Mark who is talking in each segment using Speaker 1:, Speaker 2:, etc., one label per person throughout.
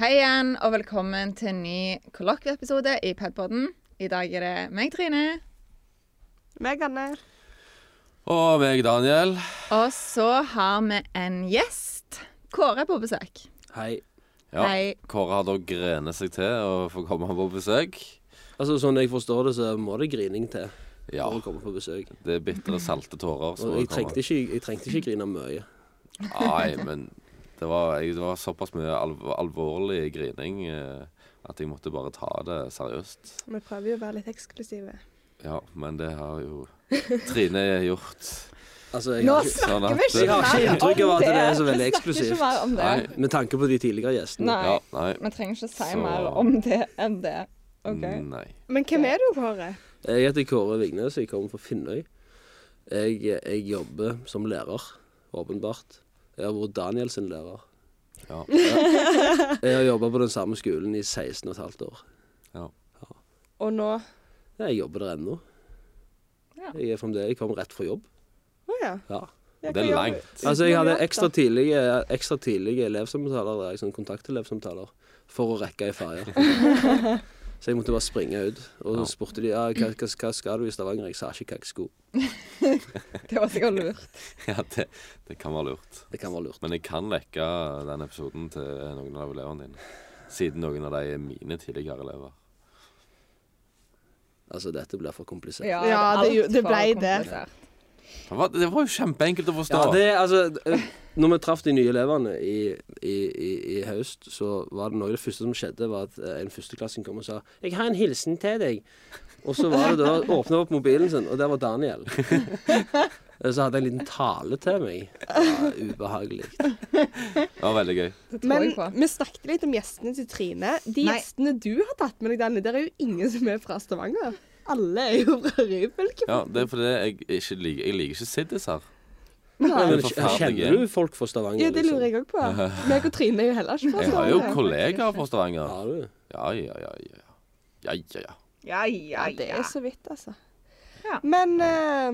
Speaker 1: Hei igjen, og velkommen til en ny kollokvieepisode i Padpodden. I dag er det meg, Trine.
Speaker 2: Meg, Anne.
Speaker 3: Og meg, Daniel.
Speaker 1: Og så har vi en gjest. Kåre er på besøk.
Speaker 4: Hei.
Speaker 3: Ja,
Speaker 1: Hei.
Speaker 3: Kåre har da grenet seg til å få komme på besøk.
Speaker 4: Altså, Sånn jeg forstår det, så må det grining til
Speaker 3: Ja,
Speaker 4: for å komme på besøk.
Speaker 3: det er bitre, salte tårer. som
Speaker 4: Og jeg
Speaker 3: kommer.
Speaker 4: trengte ikke, jeg trengte ikke grine mye.
Speaker 3: Nei, men det var, jeg, det var såpass mye alv alvorlig grining eh, at jeg måtte bare ta det seriøst.
Speaker 2: Vi prøver jo å være litt eksklusive.
Speaker 3: Ja, men det har jo Trine gjort.
Speaker 4: Altså, jeg
Speaker 1: Nå
Speaker 4: har ikke,
Speaker 3: Sånn
Speaker 1: snakker
Speaker 3: at-
Speaker 1: vi ikke
Speaker 4: eh, jeg har ikke
Speaker 1: mer om
Speaker 4: inntrykk av at
Speaker 1: det.
Speaker 4: det er så veldig
Speaker 1: Vi snakker ikke
Speaker 4: eksklusivt.
Speaker 1: mer om det.
Speaker 3: Nei.
Speaker 4: Med tanke på de tidligere gjestene.
Speaker 1: Nei.
Speaker 3: Ja, nei.
Speaker 1: Vi trenger ikke si
Speaker 3: Så-
Speaker 1: mer om det enn det. OK?
Speaker 3: Nei.
Speaker 2: Men hvem er du, Kåre?
Speaker 4: Jeg heter Kåre Vignes, jeg kommer fra Finnøy. Jeg, jeg jobber som lærer, åpenbart. Jeg har vært Daniel sin lærer.
Speaker 3: Ja.
Speaker 4: Jeg har jobba på den samme skolen i 16 15 år.
Speaker 2: Og nå Å
Speaker 4: Jeg jobber der ennå.
Speaker 1: Ja.
Speaker 4: Jeg, er fremdeles- jeg kom rett fra jobb.
Speaker 2: ja.
Speaker 4: Ja.
Speaker 2: Ja,
Speaker 3: Det er
Speaker 2: hva gjør
Speaker 3: langt.
Speaker 2: du?
Speaker 4: Altså, jeg hadde
Speaker 2: Uten å
Speaker 4: ekstra
Speaker 2: gjøre det.
Speaker 4: tidlige, ekstra tidlige elevsamtaler, der, sånn kontaktelevsamtaler, for å rekke ei ferje. Så jeg måtte bare springe ut. Og så spurte de ja, hva, hva, hva skal du i Stavanger. Jeg sa ikke hva jeg skulle.
Speaker 1: Det var sikkert lurt.
Speaker 3: ja det, det kan være lurt.
Speaker 4: Det kan være lurt.
Speaker 3: Men jeg kan lekke den episoden til noen av elevene dine. Siden noen av de er mine tidligere elever.
Speaker 4: Altså, dette blir for komplisert.
Speaker 1: Ja,
Speaker 2: Ja, det
Speaker 1: er
Speaker 2: jo- det
Speaker 1: altfor
Speaker 2: ble det.
Speaker 1: komplisert.
Speaker 3: Det var, det var jo kjempeenkelt å forstå.
Speaker 4: Ja, det er altså eh, Når vi traff de nye elevene i, i, i, i høst, så var det noe av det første som skjedde, var at eh, en førsteklassing kom og sa 'Jeg har en hilsen til deg'. Og så var det da åpna opp mobilen sin, og der var Daniel. Og så hadde han en liten tale til meg. Ja, ubehagelig.
Speaker 3: det var veldig gøy.
Speaker 1: Det tror jeg på.
Speaker 2: Men vi snakket litt om gjestene til Trine. De
Speaker 1: Nei.
Speaker 2: gjestene du har tatt med deg, Danny, der er jo ingen som er fra Stavanger. Alle er jo fra Ryfylke.
Speaker 3: Ja, det er fordi jeg ikke liker Jeg liker ikke siddiser.
Speaker 4: Nei, men,
Speaker 3: Det er forferdelig.
Speaker 4: kjenner du folk fra Stavanger?
Speaker 2: Ja, det lurer jeg òg på. Meg og Trine er jo heller ikke fra
Speaker 3: Jeg har jo
Speaker 2: Stavanger.
Speaker 3: kollegaer fra Stavanger.
Speaker 4: Har Liksom? du?
Speaker 3: Ja, ja, ja. ja. Ja, ja, ja.
Speaker 1: Ja, ja,
Speaker 2: Ja, det
Speaker 1: ja.
Speaker 2: er så vidt, altså.
Speaker 1: Ja.
Speaker 2: Men eh,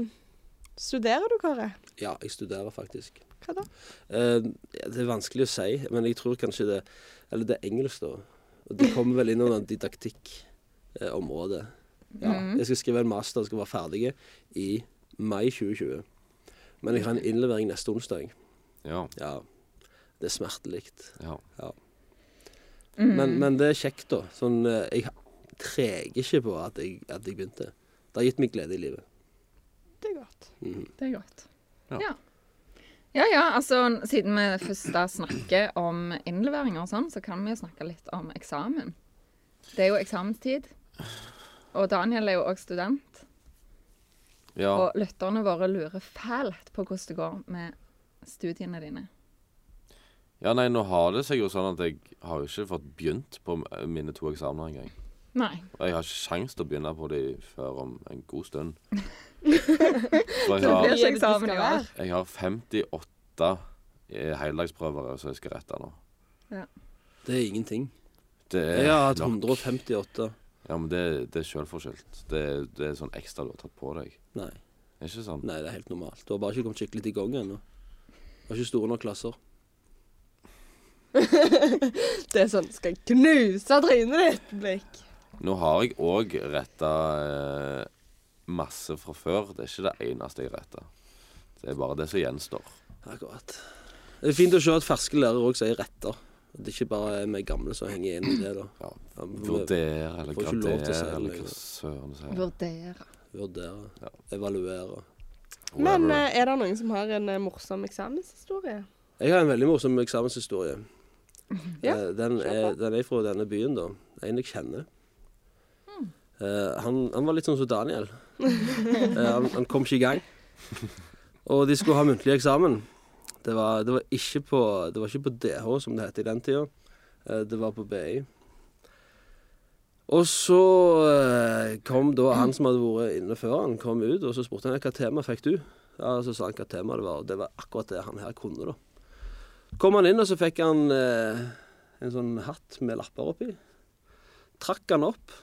Speaker 2: studerer du, Kåre?
Speaker 4: Ja, jeg studerer faktisk.
Speaker 2: Hva da?
Speaker 4: Eh, det er vanskelig å si, men jeg tror kanskje det Eller det er engelsk, da. Og det kommer vel inn under didaktikkområdet. ja. Jeg skal skrive en master og skal være ferdig i mai 2020. Men jeg har en innlevering neste onsdag.
Speaker 3: Ja,
Speaker 4: Ja. Det er smertelig.
Speaker 3: ja.
Speaker 4: Ja. Men, men det er kjekt, da. Sånn, eh, jeg treger ikke på at jeg, at jeg begynte. Det har gitt meg glede i livet. Mhm.
Speaker 2: Det er godt.
Speaker 1: Det er godt.
Speaker 3: Ja.
Speaker 1: Ja. ja ja, altså siden vi først da snakker om innleveringer og sånn, så kan vi jo snakke litt om eksamen. Det er jo eksamenstid. Og Daniel er jo òg student.
Speaker 3: ja.
Speaker 1: Og lytterne våre lurer fælt på hvordan det går med studiene dine.
Speaker 3: ja nei, nå har det seg jo sånn at jeg har jo ikke fått begynt på eh, mine to eksamener engang.
Speaker 1: Nei.
Speaker 3: Og jeg har ikke sjans til å begynne på de før om en god stund. For jeg
Speaker 1: Det
Speaker 3: har,
Speaker 1: blir ikke
Speaker 2: det du
Speaker 1: eksamen i
Speaker 2: skal
Speaker 1: år.
Speaker 3: jeg har 58 heldagsprøver som jeg skal rette nå.
Speaker 4: Det er ingenting.
Speaker 3: Det
Speaker 4: Jeg har hatt
Speaker 3: nok.
Speaker 4: 158.
Speaker 3: Ja, men det, det er sjølforskyldt. Det, det er sånn ekstra du har tatt på deg.
Speaker 4: Nei.
Speaker 3: Er ikke sånn?
Speaker 4: Nei, det er helt normalt. Du har bare ikke kommet skikkelig i gang ennå. Du har ikke store nok klasser.
Speaker 2: Det er sånn Skal jeg knuse trynet ditt? Blikk.
Speaker 3: Nå har jeg òg retta eh, masse fra før. Det er ikke det eneste jeg retta. Det er bare det som gjenstår.
Speaker 4: Akkurat. Det er fint å se at ferske lærere òg sier retter. At det ikke bare er vi gamle som henger inn i det, da.
Speaker 3: Ja,
Speaker 4: Ja, vi
Speaker 3: Vurdere eller
Speaker 4: får ikke lov til å si
Speaker 3: gradere
Speaker 4: det
Speaker 3: eller
Speaker 4: lenger.
Speaker 3: hva søren det sier.
Speaker 1: Vurdere.
Speaker 4: Vurderer,
Speaker 3: Ja.
Speaker 4: evaluerer.
Speaker 2: Men
Speaker 3: Whatever.
Speaker 2: eh, er det noen som har en eh, morsom eksamenshistorie?
Speaker 4: Jeg har en veldig morsom eksamenshistorie.
Speaker 2: Ja,
Speaker 4: Eh, den,
Speaker 2: kjør
Speaker 4: er, den er fra denne byen, da. En jeg kjenner.
Speaker 2: Hmm.
Speaker 4: Eh, han, han var litt sånn som Daniel. Eh, han, han kom ikke i gang. Og de skulle ha muntlig eksamen. Det var, det, var ikke på, det var ikke på DH, som det het i den tida. Eh, det var på BI. Og så eh, kom da han som hadde vært inne før, han kom ut, og så spurte han hva tema fikk du? Ja, og Så sa han hva tema det var, og det var akkurat det han her kunne, da. Kom han inn, og så fikk han eh, en sånn hatt med lapper oppi. Trakk han opp,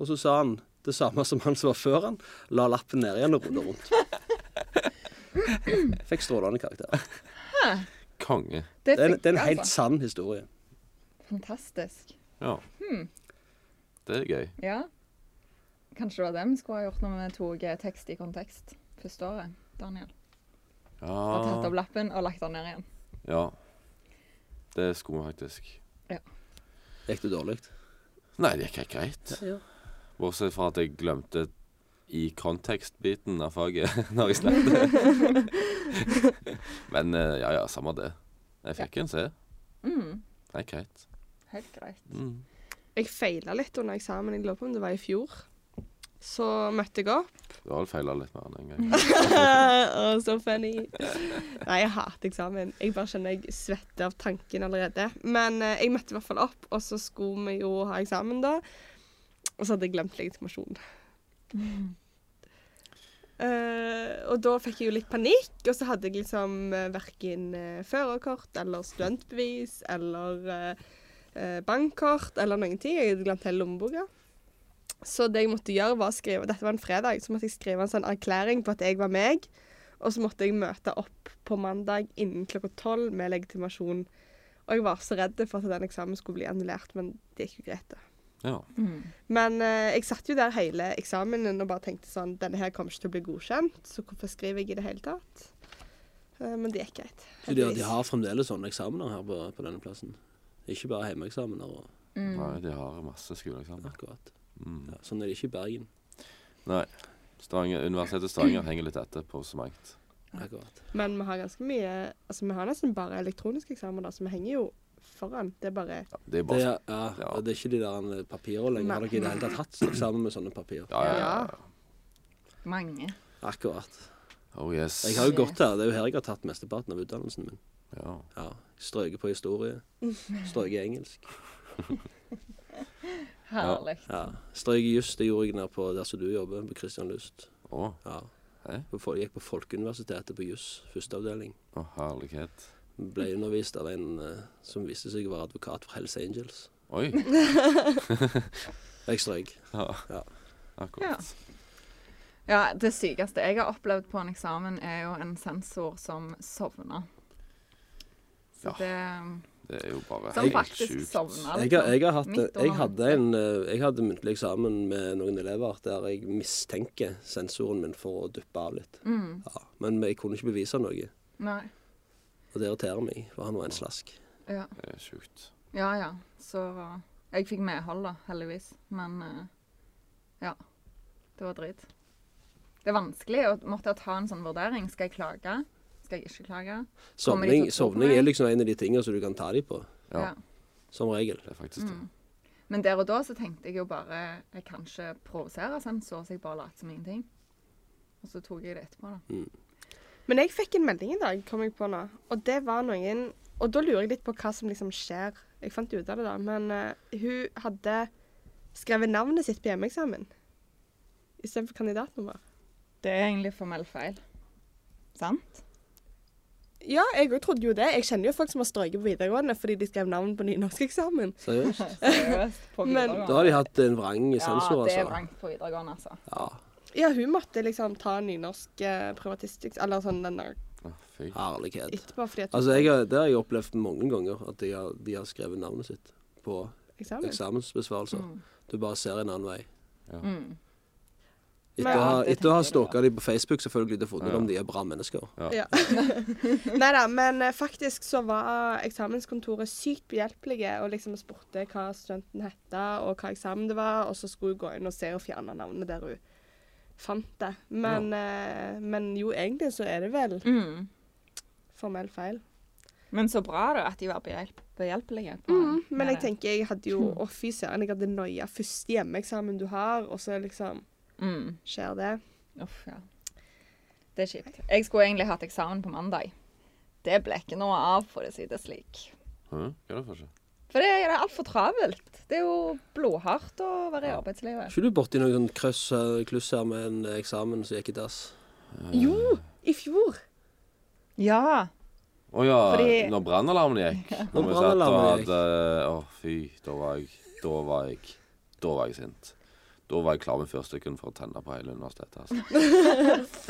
Speaker 4: og så sa han det samme som han som var før han, la lappen ned igjen og rodde rundt. Fikk strålende karakter.
Speaker 3: Konge.
Speaker 1: Det
Speaker 4: Det er, en- det er
Speaker 1: funker,
Speaker 4: en helt
Speaker 1: altså.
Speaker 4: sann historie.
Speaker 1: Fantastisk.
Speaker 3: Ja. Det er gøy.
Speaker 1: Ja. Kanskje det var det vi skulle ha gjort når vi tok eh, tekst i kontekst første året. Daniel. Bare tatt
Speaker 3: Ja.
Speaker 1: opp lappen og lagt den ned igjen.
Speaker 3: ja. Det skulle vi faktisk.
Speaker 4: Gikk det dårlig?
Speaker 3: Nei, det gikk helt greit.
Speaker 4: Ja.
Speaker 3: Bortsett fra at jeg glemte i kontekstbiten av faget når jeg snakket. Men eh, ja, ja, samme det. Jeg fikk en C.
Speaker 1: Mm.
Speaker 3: Nei, greit.
Speaker 1: Helt greit.
Speaker 3: Mm.
Speaker 2: Jeg feila litt under eksamen. Jeg lurer på om det var i fjor. Så møtte jeg opp.
Speaker 3: Du har vel feila litt mer enn en gang.
Speaker 2: Å, så funny. Nei, jeg hater eksamen. Jeg bare kjenner jeg svetter av tanken allerede. Men eh, jeg møtte i hvert fall opp, og så skulle vi jo ha eksamen da. Og så hadde jeg glemt legitimasjon. Eh, og da fikk jeg jo litt panikk, og så hadde jeg liksom uh, verken eh, førerkort eller studentbevis eller eh, eh, bankkort eller noen ting. Jeg hadde glemt hele lommeboka. Så det jeg måtte gjøre var å skrive, dette var en fredag, så måtte jeg skrive en sånn erklæring på at jeg var meg. Og så måtte jeg møte opp på mandag innen klokka tolv med legitimasjon. Og jeg var så redd for at den eksamen skulle bli annullert, men det gikk jo greit, da.
Speaker 3: Ja.
Speaker 1: Mm.
Speaker 2: Men eh, jeg satt jo der hele eksamen og bare tenkte sånn Denne her kommer ikke til å bli godkjent, så hvorfor skriver jeg i det hele tatt? Eh, men det gikk greit.
Speaker 4: Så de, de
Speaker 2: heldigvis.
Speaker 4: har fremdeles sånne eksamener her på, på denne plassen? Ikke bare hjemmeeksamener og
Speaker 1: Mm.
Speaker 3: Nei, de har masse skoleeksamener.
Speaker 4: akkurat.
Speaker 3: Mm.
Speaker 4: Ja, sånn er det ikke i Bergen.
Speaker 3: Nei. Stavanger, Universitetet Stavanger henger litt etter på så mangt.
Speaker 4: Akkurat.
Speaker 2: Men vi har ganske mye Altså, vi har nesten bare elektroniske eksamener, så vi henger jo foran. Det er bare
Speaker 3: Ja, det er
Speaker 4: Det,
Speaker 3: bare sånn.
Speaker 4: er- ja,
Speaker 3: Ja.
Speaker 4: og det er ikke de der papirene lenger. Har dere i det hele tatt hatt eksamen med sånne papirer?
Speaker 3: Ja, ja, ja. ja.
Speaker 1: Mange.
Speaker 4: Akkurat.
Speaker 3: Oh yes.
Speaker 4: Jeg har jo gått her. Det er jo her jeg har tatt mesteparten av utdannelsen min.
Speaker 3: Ja.
Speaker 4: Ja. Strøket på historie. Strøket i engelsk.
Speaker 1: Herlig.
Speaker 4: Ja. Strøket i juss, det gjorde jeg nede på der som du jobber, på Christian Lust.
Speaker 3: Å,
Speaker 4: Ja.
Speaker 3: Hæ?
Speaker 4: På fol- Jeg gikk på Folkeuniversitetet på juss, første avdeling.
Speaker 3: å, herlighet.
Speaker 4: Ble undervist av en eh, som viste seg å være advokat for Hells Angels.
Speaker 3: Oi.
Speaker 4: Jeg strøk.
Speaker 3: Ja.
Speaker 4: Ja.
Speaker 3: Akkurat.
Speaker 1: Ja, det sykeste jeg har opplevd på en eksamen, er jo en sensor som sovna. Så
Speaker 3: Ja.
Speaker 1: det
Speaker 3: Det er jo bare
Speaker 1: Som
Speaker 3: helt
Speaker 1: faktisk
Speaker 3: sjukt.
Speaker 1: sovna.
Speaker 4: Jeg, har- jeg, har hatt,
Speaker 1: Midt under
Speaker 4: jeg, hadde
Speaker 1: natten.
Speaker 4: en, eh, jeg hadde muntlig eksamen med noen elever der jeg mistenker sensoren min for å duppe av litt.
Speaker 1: Mm,
Speaker 4: Ja, men jeg kunne ikke bevise noe,
Speaker 1: nei.
Speaker 4: og det irriterer meg, for han var en slask.
Speaker 1: Ja.
Speaker 3: Det er Eh, sjukt.
Speaker 1: ja ja. Så eh, Jeg fikk medhold, da, heldigvis. Men eh, ja. Det var drit. Det er vanskelig å måtte ta en sånn vurdering. Skal jeg klage? Skal jeg ikke klage? Kommer de til å tro
Speaker 4: Sovning,
Speaker 1: på
Speaker 4: sovning
Speaker 1: meg?
Speaker 4: er liksom en av de tingene som du kan ta dem på,
Speaker 3: Ja.
Speaker 4: som regel.
Speaker 3: Det er faktisk det.
Speaker 1: Mm. Men der og da så tenkte jeg jo bare Jeg kan ikke provosere sensor, så jeg bare lot som ingenting. Og så tok jeg det etterpå, da.
Speaker 2: Men jeg fikk en melding i dag, kom jeg på nå. Og det var noen Og da lurer jeg litt på hva som liksom skjer. Jeg fant ut av det, da. Men eh, hun hadde skrevet navnet sitt på hjemmeeksamen istedenfor kandidatnummer.
Speaker 1: Det er egentlig formell feil. Sant?
Speaker 2: Ja, jeg òg trodde jo det. Jeg kjenner jo folk som har strøket på videregående fordi de skrev navn på nynorskeksamen.
Speaker 4: Seriøst?
Speaker 1: Seriøst. På
Speaker 2: Men-
Speaker 4: Da har de hatt en vrang
Speaker 1: Ja,
Speaker 4: sensor,
Speaker 1: det er
Speaker 4: altså.
Speaker 1: vrangt på videregående, altså.
Speaker 4: Ja,
Speaker 2: Ja, hun måtte liksom ta nynorsk eh, privatistisk Eller sånn den der
Speaker 3: Å, Fy.
Speaker 4: herlighet.
Speaker 2: etterpå fordi at hun
Speaker 4: Altså, jeg, har- det har jeg opplevd mange ganger, at de har, de har skrevet navnet sitt på
Speaker 2: tok eksamen.
Speaker 4: eksamensbesvarelser.
Speaker 1: Mm.
Speaker 4: Du bare ser en annen vei.
Speaker 1: Mm.
Speaker 4: Etter
Speaker 2: Men
Speaker 4: å ha,
Speaker 1: ja, det
Speaker 4: etter å ha
Speaker 1: tenker jeg.
Speaker 4: stalka dem på Facebook, selvfølgelig, til å funnet
Speaker 3: Ja.
Speaker 4: ut om de er bra mennesker.
Speaker 2: Ja. Nei da, men eh, faktisk så var eksamenskontoret sykt behjelpelige og liksom spurte hva studenten het og hva eksamen det var, og så skulle hun gå inn og se og fjerne navnet der hun fant det. Men, eh, men jo, egentlig så er det vel
Speaker 1: Mm.
Speaker 2: formell feil.
Speaker 1: Men så bra, da, at de var behjelp, behjelpelige. på- med
Speaker 2: Mm, Men jeg
Speaker 1: det.
Speaker 2: tenker jeg hadde jo Å, fy søren, jeg hadde noia. Første hjemmeeksamen du har, og så liksom
Speaker 1: mm.
Speaker 2: skjer det.
Speaker 1: Uff, ja. Det er kjipt. Jeg skulle egentlig hatt eksamen på mandag. Det ble ikke noe av, for å si det slik.
Speaker 3: Hæ? Hva er det for seg?
Speaker 1: For det er altfor travelt. Det er jo blodhardt å være i
Speaker 3: Ja.
Speaker 4: Er
Speaker 1: arbeidslivet.
Speaker 4: ikke du borti noen sånn krøss, eh, kluss her med en eh, eksamen som gikk i dass?
Speaker 2: Jo, i fjor.
Speaker 1: Ja.
Speaker 3: Å ja,
Speaker 1: Fordi-
Speaker 3: når brannalarmen gikk. Når vi satt og
Speaker 4: brannalarmen gikk.
Speaker 3: hadde Å, fy. Da var jeg Da var jeg Da var jeg sint. Da var jeg klar med fyrstikken for å tenne på hele universitetet. Altså.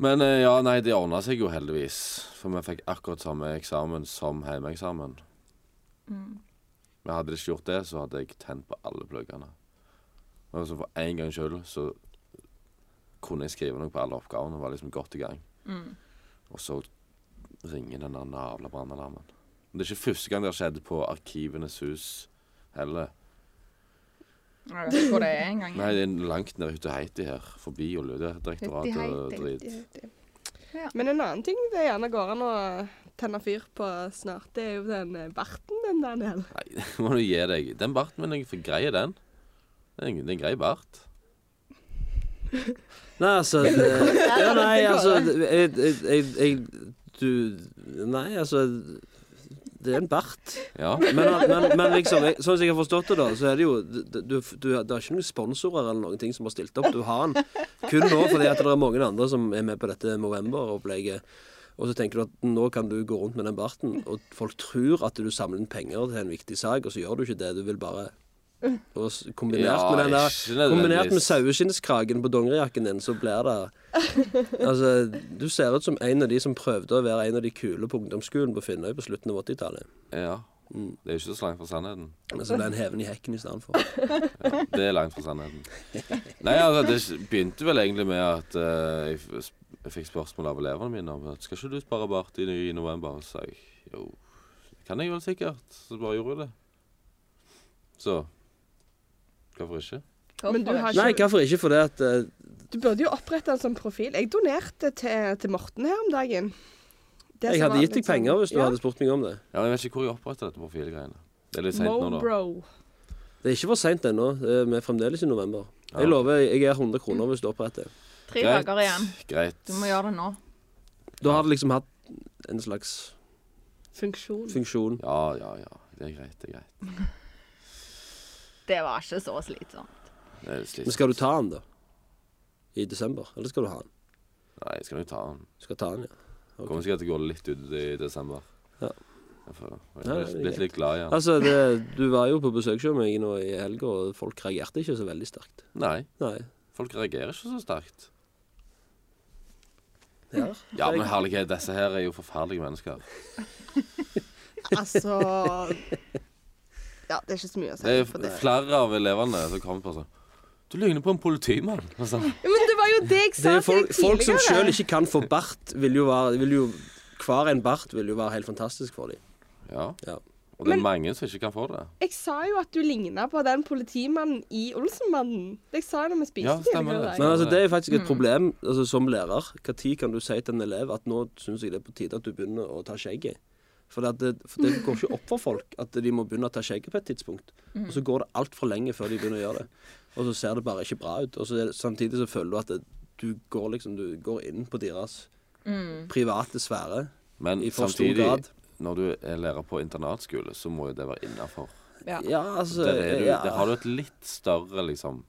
Speaker 3: Men eh, ja, nei, det ordna seg jo heldigvis. For vi fikk akkurat samme eksamen som hjemmeeksamen. Men hadde de ikke gjort det, så hadde jeg tent på alle pluggene. Men så for en gang sjøl så kunne jeg skrive noe på alle oppgavene og var liksom godt i gang.
Speaker 1: Mm.
Speaker 3: Og så ringer den der navla brannalarmen. Men Det er ikke første gang det har skjedd på Arkivenes hus heller.
Speaker 1: Jeg vet ikke hvor det er engang.
Speaker 3: Nei, det er langt ned Hutteheiti her, forbi Oljedirektoratet og
Speaker 1: Hutteheiti.
Speaker 3: drit.
Speaker 1: Ja.
Speaker 2: Men en annen ting det gjerne går an å tenne fyr på snart, det er jo den eh, barten den Daniel.
Speaker 3: Nei, må du gi deg. Den barten min, jeg fikk greie den. Det er en, det er en grei bart.
Speaker 4: Nei, altså det, ja, Nei, altså det- jeg, jeg, jeg, jeg Du Nei, altså Det er en bart.
Speaker 3: Ja.
Speaker 4: Men, men, men liksom, jeg, sånn som jeg har forstått det, da, så er det jo du, du, du, Det er ikke noen sponsorer eller noen ting som har stilt opp. Du har den kun nå fordi at det er mange andre som er med på dette Movember-opplegget. Og så tenker du at nå kan du gå rundt med den barten, og folk tror at du samler inn penger til en viktig sak, og så gjør du ikke det. Du vil bare og s- Kombinert
Speaker 3: Ja,
Speaker 4: med den der
Speaker 3: ikke nødvendigvis.
Speaker 4: Kombinert med saueskinnskragen på dongerijakken din, så blir det Altså, du ser ut som en av de som prøvde å være en av de kule på ungdomsskolen på Finnøy på slutten av 80-tallet.
Speaker 3: ja.
Speaker 4: Mm.
Speaker 3: Det er jo ikke så langt fra sannheten.
Speaker 4: Men så ble han heven i hekken i stedet for.
Speaker 3: Ja, det er langt fra sannheten. Nei, altså, det begynte vel egentlig med at eh, jeg, f- jeg fikk spørsmål av elevene mine om at skal ikke du spare bart i, i november? Og så sa jeg jo, det kan jeg vel sikkert. Så bare gjorde jeg det. Så hvorfor ikke?
Speaker 2: Men du har
Speaker 4: Nei,
Speaker 2: ikke,
Speaker 4: hvorfor ikke? Fordi at eh,
Speaker 2: du burde jo opprette en sånn profil. Jeg donerte til, til Morten her om dagen. Det
Speaker 4: jeg
Speaker 2: som
Speaker 4: hadde
Speaker 2: var
Speaker 4: gitt deg
Speaker 2: litt sånn-
Speaker 4: penger hvis du
Speaker 2: ja.
Speaker 4: hadde spurt meg om det.
Speaker 3: Ja, men Jeg vet ikke hvor jeg opprettet dette profilgreiene. Det er litt seint nå, da.
Speaker 2: Mobro.
Speaker 4: Det er ikke for seint ennå. eh, Vi er fremdeles i november.
Speaker 3: Ja.
Speaker 4: Jeg lover, jeg er 100 kroner hvis du oppretter.
Speaker 1: Tre
Speaker 3: Greit.
Speaker 1: dager igjen.
Speaker 3: Greit.
Speaker 1: Du må gjøre det nå.
Speaker 4: Da har det liksom hatt en slags
Speaker 2: Funksjon.
Speaker 4: funksjon.
Speaker 3: Ja, ja, ja. Det er greit. Det er greit.
Speaker 1: Det var ikke så slitsomt.
Speaker 3: Det er litt
Speaker 4: Men
Speaker 3: slitsomt.
Speaker 4: skal du ta den, da? I desember? Eller skal du ha den?
Speaker 3: Nei, jeg skal nok ta den.
Speaker 4: Du skal ta den, ja. Ok.
Speaker 3: Kommer sikkert til å gå litt ut i desember.
Speaker 4: Ja.
Speaker 3: Jeg får- jeg
Speaker 4: Nei,
Speaker 3: er
Speaker 4: det er
Speaker 3: blitt litt glad i den.
Speaker 4: Altså, det, du var jo på besøk hos meg nå i helga, og folk reagerte ikke så veldig sterkt.
Speaker 3: Nei,
Speaker 4: Nei.
Speaker 3: folk reagerer ikke så sterkt.
Speaker 4: Her.
Speaker 3: Ja, men herlighet, disse her er jo forferdelige mennesker.
Speaker 2: Altså Ja, det er ikke så mye å si
Speaker 3: Det er jo
Speaker 2: på det.
Speaker 3: flere av elevene som kommer på sånn Du ligner på en politimann. Og sånn.
Speaker 2: Ja, Men det var jo det jeg
Speaker 4: Det
Speaker 2: sa
Speaker 4: er jo
Speaker 2: til
Speaker 4: folk,
Speaker 2: deg
Speaker 4: folk som
Speaker 2: tidligere.
Speaker 4: sjøl ikke kan få bart, vil jo være vil jo, Hver en bart vil jo være helt fantastisk for dem.
Speaker 3: Ja.
Speaker 4: Ja.
Speaker 3: Og det er
Speaker 2: Men-
Speaker 3: mange som ikke kan få det.
Speaker 2: Jeg sa jo at du ligna på den politimannen i Olsenmannen. Det jeg sa jeg da vi spiste
Speaker 3: Ja, stemmer
Speaker 2: tidligere i
Speaker 3: det.
Speaker 2: dag.
Speaker 4: Men altså, det er faktisk et problem altså, som lærer. Når kan du si til en elev at nå syns jeg det er på tide at du begynner å ta skjegget? For det, at det, for det går ikke opp for folk at de må begynne å ta skjegget på et tidspunkt. Og så går det altfor lenge før de begynner å gjøre det. Og så ser det bare ikke bra ut. Og så er det, samtidig så føler du at det, du, går liksom, du går inn på deres private sfære
Speaker 3: Men
Speaker 4: i for stor
Speaker 3: samtidig,
Speaker 4: grad.
Speaker 3: når du er lærer på internatskole, så må jo det være innafor.
Speaker 2: Ja.
Speaker 4: Ja, altså
Speaker 3: Der, er du-
Speaker 4: ja.
Speaker 3: der har du et litt større, liksom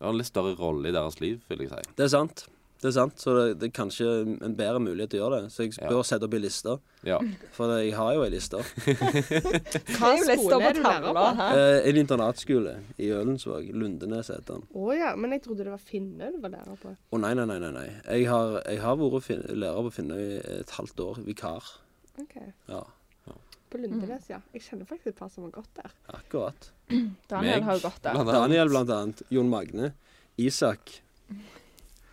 Speaker 3: Du har en litt større rolle i deres liv, vil jeg si.
Speaker 4: Det er sant. Det er sant, så det, det er kanskje en bedre mulighet til å gjøre det. Så jeg
Speaker 3: Ja.
Speaker 4: bør sette opp ei liste,
Speaker 3: Ja.
Speaker 4: for jeg har jo ei liste.
Speaker 2: Hva
Speaker 1: Det er jo litt
Speaker 2: skole
Speaker 1: over
Speaker 2: er du lærer på?
Speaker 1: tavla her.
Speaker 4: Eh, en internatskole i Ølensvåg. Lundenes heter den.
Speaker 2: Å ja, men jeg trodde det var finne du var lærer på.
Speaker 4: Å nei, nei, nei. nei, nei. Jeg har, jeg har vært fin lærer på Finnøy et halvt år. Vikar.
Speaker 2: Ok,
Speaker 4: Ja,
Speaker 2: På Lundenes, ja. Jeg kjenner faktisk et par som har gått der.
Speaker 4: akkurat.
Speaker 1: Daniel
Speaker 3: Meg,
Speaker 1: har jo gått der.
Speaker 3: blant annet.
Speaker 4: Daniel, blant annet. Jon Magne. Isak.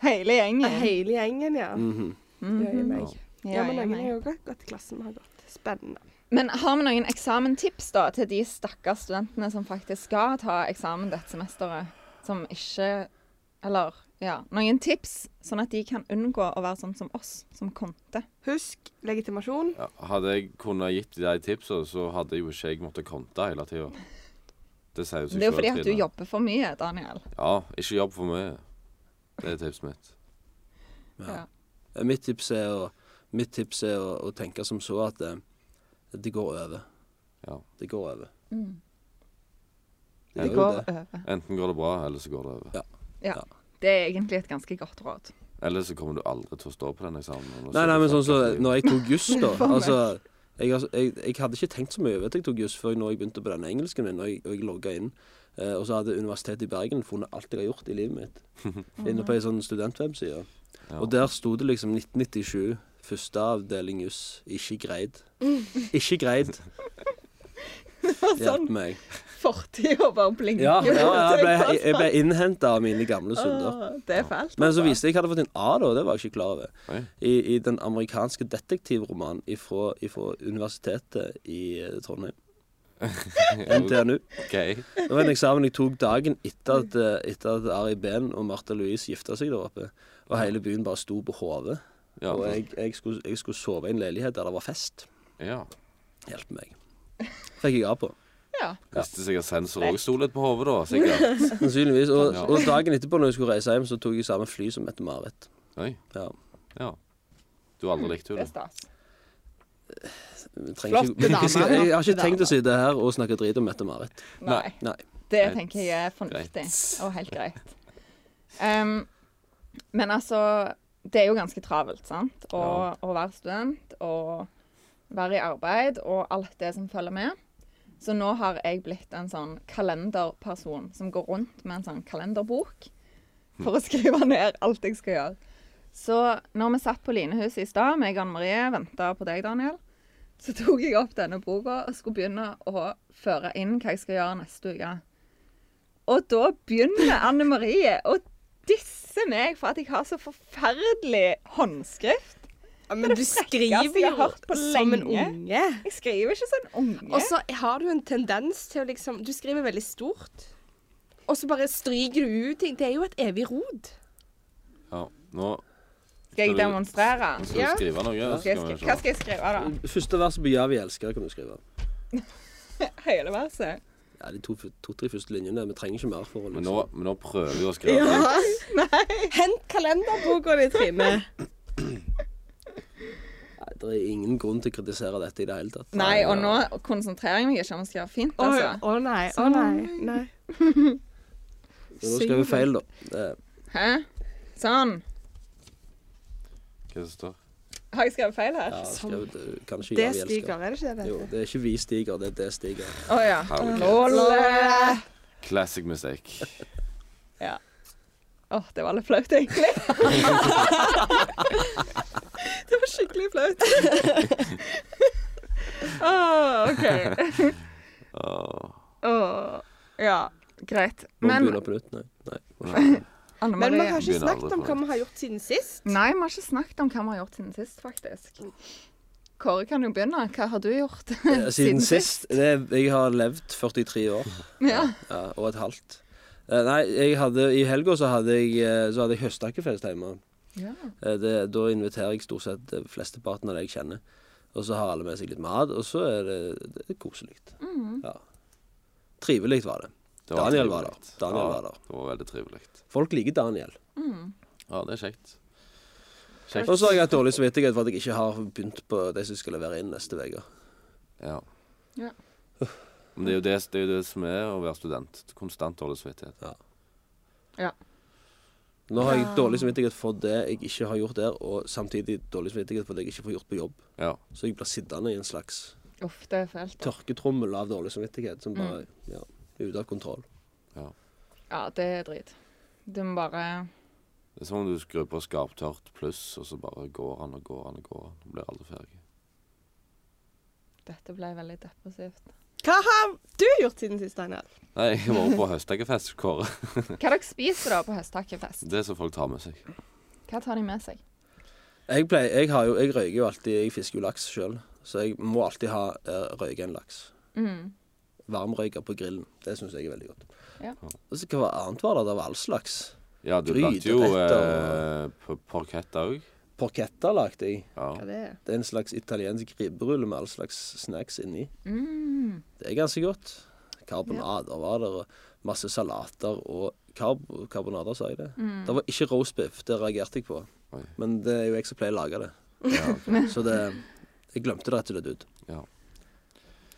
Speaker 1: Hele gjengen.
Speaker 2: Hele gjengen, ja.
Speaker 3: Mm.
Speaker 4: Mhm.
Speaker 2: Jøye meg. Ah, Mm. Ja, men
Speaker 1: Ja,
Speaker 2: noen
Speaker 1: meg.
Speaker 2: har jo gått gått i klassen vi har gått. Spennende.
Speaker 1: Men har vi noen eksamentips da, til de stakkars studentene som faktisk skal ta eksamen dette semesteret? Som ikke Eller ja, noen tips, sånn at de kan unngå å være sånn som oss, som konte.
Speaker 2: Husk legitimasjon.
Speaker 3: Ja, hadde jeg kunnet gitt de tipsene, så hadde jo ikke jeg måttet konte hele tida. Det sier jo seg
Speaker 1: Det er jo
Speaker 3: selv,
Speaker 1: fordi at du
Speaker 3: Trine.
Speaker 1: jobber for mye, Daniel.
Speaker 3: Ja, ikke jobb for mye. Det er tipset mitt.
Speaker 1: Ja.
Speaker 4: Eh, Mitt tips er å, mitt tips er å, å tenke som så at eh, det går over.
Speaker 3: Ja.
Speaker 4: Det går over.
Speaker 1: Mm.
Speaker 4: Det
Speaker 1: Det
Speaker 4: gjør jo
Speaker 1: går
Speaker 4: det.
Speaker 1: over.
Speaker 3: Enten går det bra, eller så går det over.
Speaker 4: Ja.
Speaker 1: Det er egentlig et ganske godt råd.
Speaker 3: Eller så kommer du aldri til å stå på den eksamen. og
Speaker 4: Nei, nei, men sånn som
Speaker 3: så,
Speaker 4: når jeg tok juss, da.
Speaker 1: For meg.
Speaker 4: Altså, jeg, har- jeg, jeg hadde ikke tenkt så mye over at jeg tok juss før jeg- når jeg begynte på denne engelsken min, og jeg, og jeg logga inn. Eh, og så hadde Universitetet i Bergen funnet alt jeg har gjort i livet mitt. Inne på ei sånn studentwebside.
Speaker 3: Ja.
Speaker 4: Og der sto det liksom 1997, første avdeling juss, ikke greid. Ikke greid.
Speaker 2: var
Speaker 4: Hjelp
Speaker 2: sånn
Speaker 4: meg.
Speaker 1: Fortid og bare blinke.
Speaker 4: Ja, ja jeg ble, jeg ble innhenta av mine gamle synder.
Speaker 2: Åh, Det er fælt.
Speaker 4: Men så viste jeg at jeg hadde fått en A, da. Det var jeg ikke klar over.
Speaker 3: Oi.
Speaker 4: I, i den amerikanske detektivromanen ifra, ifra universitetet i eh, Trondheim. NTNU.
Speaker 3: OK.
Speaker 4: Det var en eksamen jeg tok dagen etter at, eh, etter at Ari Behn og Martha Louise gifta seg der oppe. Og hele byen bare sto på hodet.
Speaker 3: Ja.
Speaker 4: Og jeg, jeg, skulle, jeg skulle sove i en leilighet der det var fest.
Speaker 3: ja.
Speaker 4: Hjelp meg. Fikk jeg A på.
Speaker 1: Ja.
Speaker 3: Visste sikkert sensor òg sto litt på hodet, da. Sikkert.
Speaker 4: Sannsynligvis. Og,
Speaker 3: Ja.
Speaker 4: og dagen etterpå, når jeg skulle reise hjem, så tok jeg samme fly som Mette-Marit.
Speaker 3: Oi.
Speaker 4: Ja.
Speaker 3: Ja. Du har aldri likt
Speaker 1: Det er
Speaker 3: henne, du.
Speaker 1: stas.
Speaker 4: Jeg trenger ikke-
Speaker 1: Flotte damer,
Speaker 4: Jeg, jeg har
Speaker 1: flotte
Speaker 4: ikke tenkt
Speaker 1: damer.
Speaker 4: å sitte her og snakke drit om Mette-Marit.
Speaker 1: Nei.
Speaker 4: Nei.
Speaker 1: Det
Speaker 3: Greit.
Speaker 1: tenker jeg er fornuftig
Speaker 3: Greit.
Speaker 1: og helt greit. Ehm, men altså Det er jo ganske travelt, sant? Å,
Speaker 3: Ja.
Speaker 1: å være student og være i arbeid og alt det som følger med. Så nå har jeg blitt en sånn kalenderperson som går rundt med en sånn kalenderbok
Speaker 3: Hm.
Speaker 1: for å skrive ned alt jeg skal gjøre. Så når vi satt på Linehuset i stad, meg og Anne Marie venta på deg, Daniel, så tok jeg opp denne boka og skulle begynne å føre inn hva jeg skal gjøre neste uke. Og da begynner Anne Marie å disse meg for at jeg har så forferdelig håndskrift.
Speaker 2: Ja, men du skriver
Speaker 1: jeg har
Speaker 2: jo
Speaker 1: hørt på
Speaker 2: som en
Speaker 1: lenge.
Speaker 2: unge.
Speaker 1: Jeg skriver ikke sånn unge.
Speaker 2: Og så har du en tendens til å liksom Du skriver veldig stort. Og så bare stryker du ut ting. Det er jo et evig rod.
Speaker 3: Ja. Nå
Speaker 1: skal jeg demonstrere.
Speaker 3: skal
Speaker 2: Ja.
Speaker 3: du skrive noe. så
Speaker 1: Skal jeg
Speaker 3: skal vi
Speaker 1: skri-
Speaker 3: se.
Speaker 1: Hva skal jeg skrive, da?
Speaker 4: Første verset på Ja, vi elsker kan du skrive.
Speaker 1: Hele verset?
Speaker 4: Ja, De to-tre to, tre første linjene. Vi trenger ikke mer for å
Speaker 3: Men
Speaker 4: liksom.
Speaker 3: nå, men nå prøver jeg å skrive. litt.
Speaker 2: Hent kalenderboka di, Trine.
Speaker 4: Nei, Det er ingen grunn til å kritisere dette i det hele tatt.
Speaker 1: Nei, og nå konsentrerer jeg meg ikke om å skrive fint,
Speaker 2: Å
Speaker 1: altså.
Speaker 2: å nei. Å nei. nei.
Speaker 4: Men nå skrev vi feil, da. Eh,
Speaker 1: Hæ? Sånn.
Speaker 3: Hva som står?
Speaker 1: Har jeg skrevet feil her?
Speaker 4: Ja, skrev, det- kanskje
Speaker 2: Det
Speaker 4: Ja, vi elsker.
Speaker 2: stiger, er det ikke det?
Speaker 4: Jo, det er ikke vi stiger, det er det stiger.
Speaker 1: Å ja.
Speaker 3: Herregud.
Speaker 1: Lolle.
Speaker 3: Classic mistake.
Speaker 1: Ja. Åh, det var litt flaut, egentlig. det var skikkelig flaut. Åh, OK.
Speaker 3: Åh.
Speaker 1: Åh, ja, greit.
Speaker 4: Må vi
Speaker 1: Men
Speaker 4: begynne på nytt? Nei. Nei. må ikke.
Speaker 1: Anne
Speaker 2: Men vi har
Speaker 1: Marie
Speaker 3: Begynner
Speaker 2: ikke
Speaker 3: aldri
Speaker 2: snakket om
Speaker 3: på
Speaker 2: hva
Speaker 3: det.
Speaker 2: vi har gjort siden sist.
Speaker 1: Nei, vi har ikke snakket om hva vi har gjort siden sist, faktisk. Kåre kan jo begynne. Hva har du gjort
Speaker 4: Eh, Siden sist? Det, er- jeg har levd 43 år.
Speaker 1: Ja.
Speaker 4: ja, og et halvt. Eh, Nei, jeg hadde, i helga så hadde jeg, eh, så hadde jeg høstakkefest hjemme.
Speaker 1: ja.
Speaker 4: Eh, Det, da inviterer jeg stort sett eh, flesteparten av de jeg kjenner. Og så har alle med seg litt mat, og så er det, det er koselig. Ja. Trivelig var det.
Speaker 3: Det var
Speaker 4: Daniel var der.
Speaker 3: trivelig.
Speaker 4: Daniel
Speaker 3: ja,
Speaker 4: var der.
Speaker 3: Det var veldig trivelig.
Speaker 4: Folk liker Daniel.
Speaker 3: Ja, det er kjekt.
Speaker 4: Og så har jeg hatt dårlig samvittighet for at jeg ikke har begynt på de som skal levere inn neste uke.
Speaker 3: Ja.
Speaker 1: Ja.
Speaker 3: Men det er jo det, det, er jo det som er å være student. Konstant dårlig samvittighet.
Speaker 1: ja.
Speaker 4: Nå har jeg dårlig samvittighet for det jeg ikke har gjort der, og samtidig dårlig samvittighet for det jeg ikke får gjort på jobb.
Speaker 3: Ja.
Speaker 4: Så jeg blir sittende i en slags
Speaker 1: Uff, det er fælt.
Speaker 4: tørketrommel av dårlig samvittighet som bare ja, er ute av kontroll.
Speaker 3: ja.
Speaker 1: Ja, det er drit. Du må bare
Speaker 3: Det er som om du skrur på skarptørt pluss, og så bare går han og går han og går han. Du blir aldri ferdig.
Speaker 1: Dette ble veldig depressivt.
Speaker 2: Hva har du gjort siden sist, Daniel?
Speaker 3: Nei, jeg var på høsteggerfest, Kåre.
Speaker 1: Hva dere spiser da på høsttakkefest?
Speaker 3: Det er som folk tar med seg.
Speaker 1: Hva tar de med seg?
Speaker 4: Jeg, pleier, jeg, har jo, jeg røyker jo alltid Jeg fisker jo laks sjøl, så jeg må alltid ha uh, røyke en laks.
Speaker 1: Mm.
Speaker 4: Varmrøyker på grillen. Det syns jeg er veldig godt.
Speaker 1: Ja.
Speaker 4: Og så hva annet var det? Det var all slags.
Speaker 3: Ja, du
Speaker 4: Gryterett
Speaker 3: lagde jo eh,
Speaker 4: og-
Speaker 3: på parkett òg.
Speaker 4: Porchetta lagde jeg.
Speaker 3: Ja.
Speaker 2: Hva det er?
Speaker 4: Det er en slags italiensk ribberulle med all slags snacks inni.
Speaker 1: Mm.
Speaker 4: Det er ganske godt. Karbonader var der, og masse salater og karb karbonader, sa jeg det.
Speaker 1: Mm.
Speaker 4: Det var ikke roast beef, det reagerte jeg på.
Speaker 3: Oi.
Speaker 4: Men det er jo jeg som pleier å lage det.
Speaker 3: Ja, ok.
Speaker 4: Så det Jeg glemte det rett og slett ut.
Speaker 3: ja.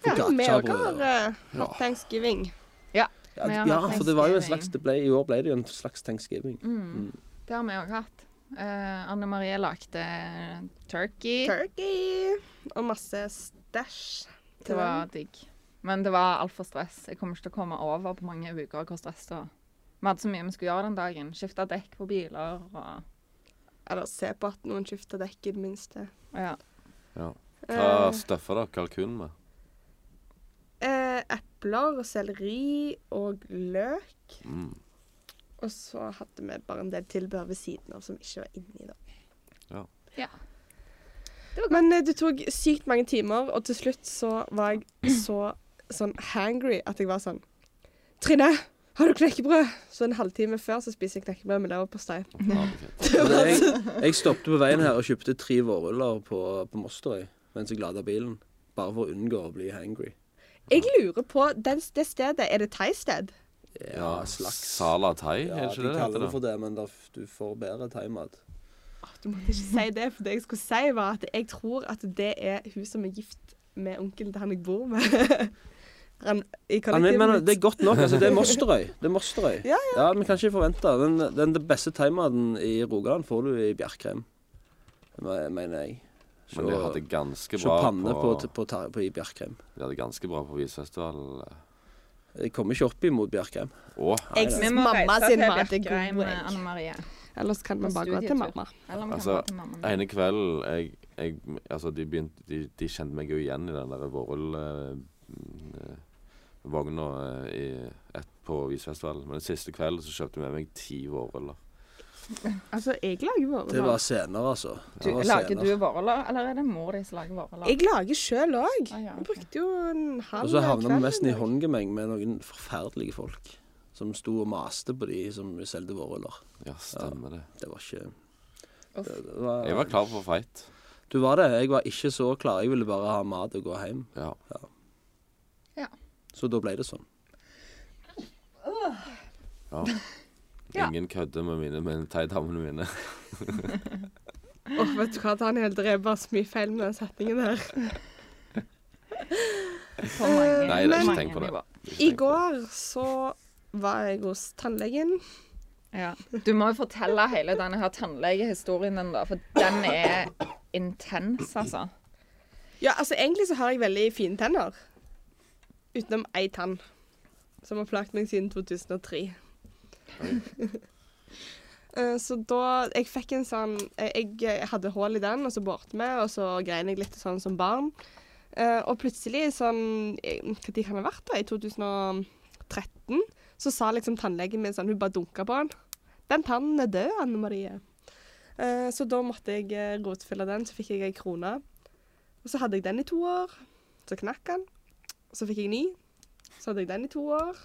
Speaker 2: Ja, vi
Speaker 4: Focaccia-brød
Speaker 2: òg har eh,
Speaker 3: Ja.
Speaker 2: hatt thanksgiving.
Speaker 1: Ja,
Speaker 4: Ja,
Speaker 1: Vi har
Speaker 4: ja,
Speaker 1: hatt Mm.
Speaker 4: for det var jo en
Speaker 1: Thanksgiving.
Speaker 4: slags det ble, I år ble det jo en slags thanksgiving.
Speaker 1: det har vi òg hatt. Eh, Anne Marie lagde turkey.
Speaker 2: Turkey og masse stæsj.
Speaker 1: Det var digg. Men det var altfor stress. Jeg kommer ikke til å komme over på mange uker hvor stress det var. Vi hadde så mye vi skulle gjøre den dagen. Skifte dekk på biler og
Speaker 2: Eller se på at noen skifter dekk, i det minste.
Speaker 1: og ja.
Speaker 3: Hva
Speaker 2: Eh,
Speaker 3: støffer dere kalkunen med?
Speaker 2: Eh, epler og selleri og løk.
Speaker 3: Mm.
Speaker 2: Og så hadde vi bare en del tilbehør ved siden av som ikke var inni. da.
Speaker 1: Ja.
Speaker 2: Men eh, det tok sykt mange timer, og til slutt så var jeg så sånn hangry at jeg var sånn Trine, har du knekkebrød? Så en halvtime før så spiser jeg knekkebrød med leverpostei.
Speaker 3: Ja, ok.
Speaker 4: Men jeg, Altså, jeg stoppet på veien her og kjøpte tre vårruller på, på Moster jeg, mens jeg lada bilen. Bare for å unngå å bli hangry.
Speaker 2: Jeg lurer på den, Det stedet, er det thaisted?
Speaker 3: ja,
Speaker 4: Ja, slags.
Speaker 3: Sala thai,
Speaker 4: Ja,
Speaker 3: er det ikke det det
Speaker 4: de kaller
Speaker 3: heter?
Speaker 4: det
Speaker 3: da?
Speaker 4: for det, men da, f- du får bedre thaimat.
Speaker 2: Åh, Du måtte ikke si det, for det jeg skulle si, var at jeg tror at det er hun som er gift med onkelen til han jeg bor med. han i
Speaker 4: Ja, men,
Speaker 2: kollektivet
Speaker 4: men
Speaker 2: mitt.
Speaker 4: det er godt nok. Altså, det er Mosterøy. Det er Mosterøy.
Speaker 2: Ja,
Speaker 4: ja. Vi kan ikke forvente den, den, den beste thaimaten i Rogaland får du i Bjerkreim, me- mener jeg. Se
Speaker 3: Men de hadde ganske
Speaker 4: se
Speaker 3: bra
Speaker 4: panne på,
Speaker 3: på,
Speaker 4: på, ta- på i Bjerkreim.
Speaker 3: de hadde ganske bra på visfestival. eh,
Speaker 4: Jeg kommer ikke opp imot Bjerkreim.
Speaker 3: Å,
Speaker 2: Jeg
Speaker 1: Vi
Speaker 2: synes
Speaker 1: må
Speaker 2: mamma
Speaker 1: reise
Speaker 2: sin
Speaker 1: til
Speaker 2: mat er
Speaker 1: Bjerkreim,
Speaker 2: god. jeg.
Speaker 1: Anne Marie.
Speaker 2: Ellers kan vi
Speaker 1: På
Speaker 2: bare gå til
Speaker 1: studietur.
Speaker 2: mamma.
Speaker 1: Eller om vi
Speaker 3: Altså,
Speaker 1: kan gå til mamma.
Speaker 3: ene kvelden jeg, jeg, altså, de, begynte, de, de kjente meg jo igjen i den der eh, vårrullvogna eh, på visfestivalen. Men den siste kvelden så kjøpte jeg med meg ti vårruller.
Speaker 2: Altså, jeg lager
Speaker 4: Det var
Speaker 2: vårruller.
Speaker 4: senere, altså. Det
Speaker 1: Du,
Speaker 4: var
Speaker 1: lager
Speaker 4: senere.
Speaker 1: du vårruller, eller er det mor di som lager vårruller?
Speaker 2: Jeg lager sjøl òg.
Speaker 1: Ah, ja,
Speaker 2: Vi
Speaker 1: ok.
Speaker 2: brukte jo en halv
Speaker 4: Og så havna vi
Speaker 2: kveld
Speaker 4: nesten i
Speaker 2: dag.
Speaker 4: håndgemeng med noen forferdelige folk som sto og maste på de som solgte vårruller.
Speaker 3: Ja, stemmer det.
Speaker 4: Det var ikke
Speaker 1: Uff.
Speaker 4: det, det var,
Speaker 3: Jeg var klar for fight.
Speaker 4: Du var det. Jeg var ikke så klar. Jeg ville bare ha mat og gå hjem.
Speaker 3: Ja.
Speaker 1: Ja.
Speaker 4: Så da ble det sånn.
Speaker 3: ja.
Speaker 1: Ja.
Speaker 3: Ingen kødder med mine med teidamene mine.
Speaker 2: Åh, vet du hva, Daniel, det er bare så mye feil med den setningen her.
Speaker 1: På
Speaker 2: Eh,
Speaker 1: mange,
Speaker 3: Nei, det er ikke
Speaker 1: mange
Speaker 3: tenkt på det.
Speaker 1: nivå.
Speaker 2: I går så var jeg hos tannlegen.
Speaker 1: Ja. Du må jo fortelle hele denne her tannlegehistorien din, da. For den er intens, altså.
Speaker 2: Ja, altså egentlig så har jeg veldig fine tenner. Utenom ei tann. Som har plaget meg siden 2003. Eh, så da Jeg fikk en sånn eh, Jeg eh, hadde hull i den, og så borte vi, og så grein jeg litt sånn som barn. Eh, og plutselig sånn eh, Hva tid kan det ha vært? da? I 2013? Så sa liksom tannlegen min sånn Hun bare dunka på den. Den tannen er død, Anne Marie. Eh, så da måtte jeg eh, rotfylle den, så fikk jeg ei krone. Og så hadde jeg den i to år. Så knakk den. Så fikk jeg ny. Så hadde jeg den i to år.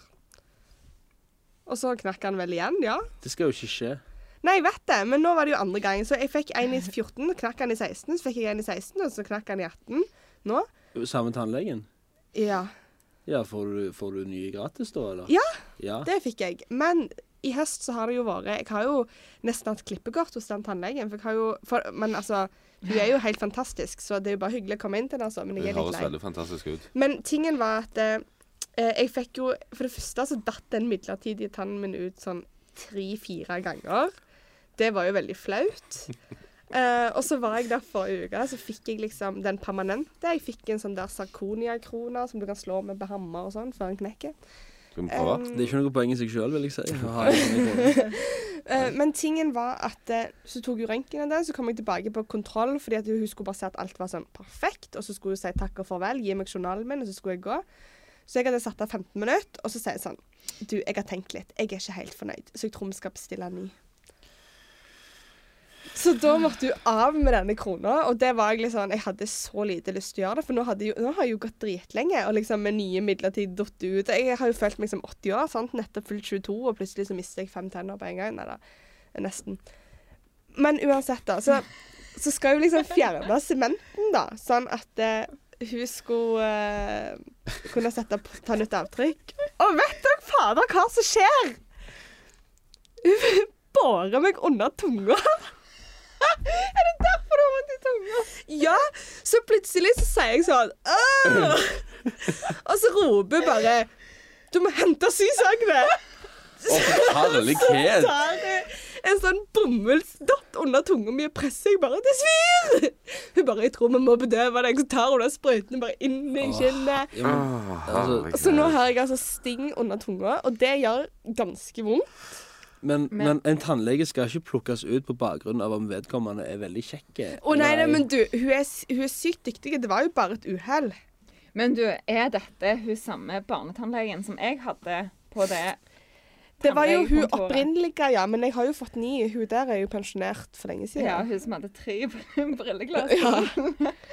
Speaker 2: Og så knakk den vel igjen, ja.
Speaker 4: Det skal jo ikke skje.
Speaker 2: Nei, jeg vet det, men nå var det jo andre gang. Så jeg fikk en i 14, knakk den i 16, så fikk jeg en i 16, og så knakk den i 18. Nå.
Speaker 4: Samme tannlegen?
Speaker 2: Ja,
Speaker 4: Ja, får du, får du nye gratis da, eller?
Speaker 2: Ja.
Speaker 4: ja.
Speaker 2: det fikk jeg. Men i høst så har det jo vært Jeg har jo nesten hatt klippekort hos den tannlegen, for jeg har jo for, Men altså, hun er jo helt fantastisk, så det er jo bare hyggelig å komme inn til henne, altså. Men
Speaker 3: Det
Speaker 2: jeg er litt
Speaker 3: høres
Speaker 2: lei.
Speaker 3: veldig fantastisk ut.
Speaker 2: Men tingen var at eh, jeg fikk jo For det første så datt den midlertidige tannen min ut sånn tre-fire ganger. Det var jo veldig flaut. Eh, og så var jeg der forrige uke, så fikk jeg liksom den permanente. Jeg fikk en sånn der sarkonia-krone som du kan slå med på hammer og sånn før den knekker.
Speaker 3: Skal vi prøve?
Speaker 2: Um,
Speaker 4: Det er ikke noe poeng i seg sjøl, vil jeg si. å ha en sånn krone.
Speaker 2: Eh, men tingen var at eh, så tok hun røntgen av den, så kom jeg tilbake på kontroll, fordi at hun skulle bare se at alt var sånn perfekt, og så skulle hun si takk og farvel, gi meg journalen min, og så skulle jeg gå. Så jeg hadde satt av 15 minutter, og så sier jeg sånn Du, jeg har tenkt litt. Jeg er ikke helt fornøyd, så jeg tror vi skal bestille en ny. Så da måtte hun av med denne krona, og det var jeg litt sånn Jeg hadde så lite lyst til å gjøre det, for nå, hadde jo, nå har jeg jo gått dritlenge, og liksom med nye midlertidig datt ut. Jeg har jo følt meg som 80 år, sant? nettopp fylt 22, og plutselig så mister jeg fem tenner på en gang. Nei da, nesten. Men uansett, da, så, så skal hun liksom fjerne sementen, da, sånn at eh, hun skulle eh, kunne sette, p- ta nytt avtrykk. Og vet dere fader hva som skjer? Hun bårer meg under tunga.
Speaker 1: Er det derfor du har vondt i tunga?
Speaker 2: Ja, så plutselig så sier jeg sånn «Åh!» Og så roper hun bare Du må hente sysakene!
Speaker 3: Å, herlighet!
Speaker 2: tar jeg en sånn bomullsdott under tunga mi og presser. Jeg bare 'Det svir!' Hun bare 'Jeg tror vi må bedøve deg.' Så tar hun den sprøyten bare inn i kinnet.
Speaker 4: Ja, men,
Speaker 3: Ah,
Speaker 4: altså,
Speaker 2: Så nå har jeg altså sting under tunga, og det gjør ganske vondt.
Speaker 4: men, men en tannlege skal ikke plukkes ut på bakgrunn av om vedkommende er veldig kjekk. eh,
Speaker 2: Å nei, nei, men du, hun er, s- hun er sykt dyktig. Det var jo bare et uhell.
Speaker 1: Men du, er dette hun samme barnetannlegen som jeg hadde på det
Speaker 2: Det var jo hun
Speaker 1: tannlegekontoret?
Speaker 2: opprinnelige, ja, men jeg har jo fått ny. Hun der er jo pensjonert for lenge siden.
Speaker 1: Ja, hun som hadde tre br- brilleglass.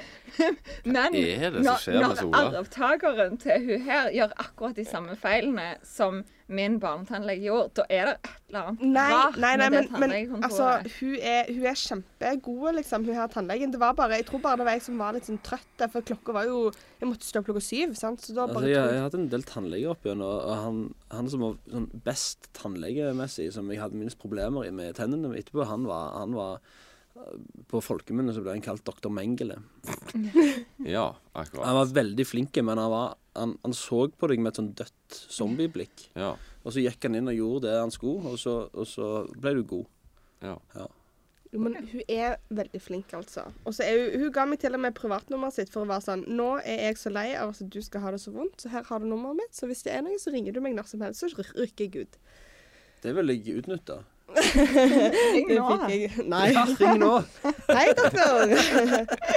Speaker 1: Men
Speaker 3: er det som
Speaker 1: når,
Speaker 3: skjer med
Speaker 1: når
Speaker 3: Sola?
Speaker 1: arvtakeren til hun her gjør akkurat de samme feilene som min barnetannlege gjorde, da er det et eller annet
Speaker 2: Nei,
Speaker 1: rart
Speaker 2: nei, nei,
Speaker 1: med
Speaker 2: men,
Speaker 1: det
Speaker 2: men altså,
Speaker 1: tannlegekontoret.
Speaker 2: hun er, hun er kjempegod, liksom, hun her tannlegen. Det var bare, Jeg tror bare det var jeg som var litt sånn trøtt, for klokka var jo Jeg måtte stå opp klokka syv, sant, så da
Speaker 4: Altså,
Speaker 2: bare
Speaker 4: jeg,
Speaker 2: tok-
Speaker 4: jeg har hatt en del tannleger opp igjen, og, og han, han som var sånn best tannlegemessig, som jeg hadde minst problemer i med tennene med etterpå, han var, han var eh, På folkemunne så ble han kalt doktor Mengele.
Speaker 3: Ja,
Speaker 4: Han
Speaker 3: akkurat.
Speaker 4: var veldig flink, men han, var, han, han så på deg med et sånn dødt zombieblikk.
Speaker 3: Ja,
Speaker 4: Og så gikk han inn og gjorde det han skulle, og så, og så ble du god.
Speaker 3: ja.
Speaker 2: Jo, men hun er veldig flink, altså. Og så er hun, hun ga meg til og med privatnummeret sitt for å være sånn Nå er jeg så lei av at du skal ha det så vondt, så her har du nummeret mitt. Så hvis det er noe, så ringer du meg når som helst, så ry- rykker jeg ut.
Speaker 4: Det vil jeg utnytte.
Speaker 1: Ring
Speaker 2: Det
Speaker 1: nå.
Speaker 2: fikk jeg. Nei.
Speaker 4: Ja, ring nå!
Speaker 2: Hei, doktor.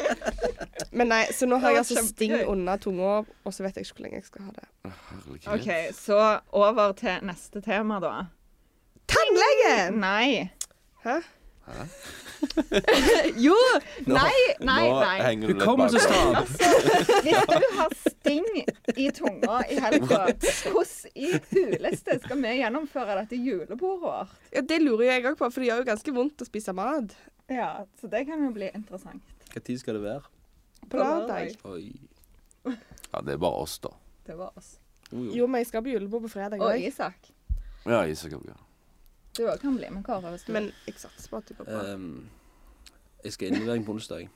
Speaker 2: Men nei, så nå har
Speaker 1: Det var
Speaker 2: jeg altså sting
Speaker 1: kjempegøy.
Speaker 2: under tunga, og så vet jeg ikke hvor lenge jeg skal ha det.
Speaker 3: Herregud.
Speaker 1: OK, så over til neste tema, da.
Speaker 2: Tannlegen!
Speaker 1: Nei.
Speaker 2: Hæ?
Speaker 1: Jo! Nei, nei,
Speaker 3: Nå
Speaker 1: nei.
Speaker 3: henger du litt
Speaker 4: Hukommelse
Speaker 3: bakpå.
Speaker 4: snart!
Speaker 1: Hvis du har sting i tunga i helga, hvordan i huleste skal vi gjennomføre dette julebordet vårt?
Speaker 2: Ja, det lurer jo jeg òg på, for det gjør jo ganske vondt å spise mat
Speaker 1: Ja, så det kan jo bli interessant.
Speaker 4: Når skal det være?
Speaker 2: på lørdag.
Speaker 4: Oi.
Speaker 3: Ja, det er bare oss, da.
Speaker 1: Det var oss.
Speaker 2: Jo, men jeg skal på julebord på fredag
Speaker 1: Og
Speaker 2: òg.
Speaker 1: Isak,
Speaker 3: Ja, Isak òg. Ja.
Speaker 1: du òg kan bli med Kåre hvis du vil.
Speaker 2: Men jeg satser på at du går bra.
Speaker 4: Ehm, jeg skal ha innlevering på onsdag.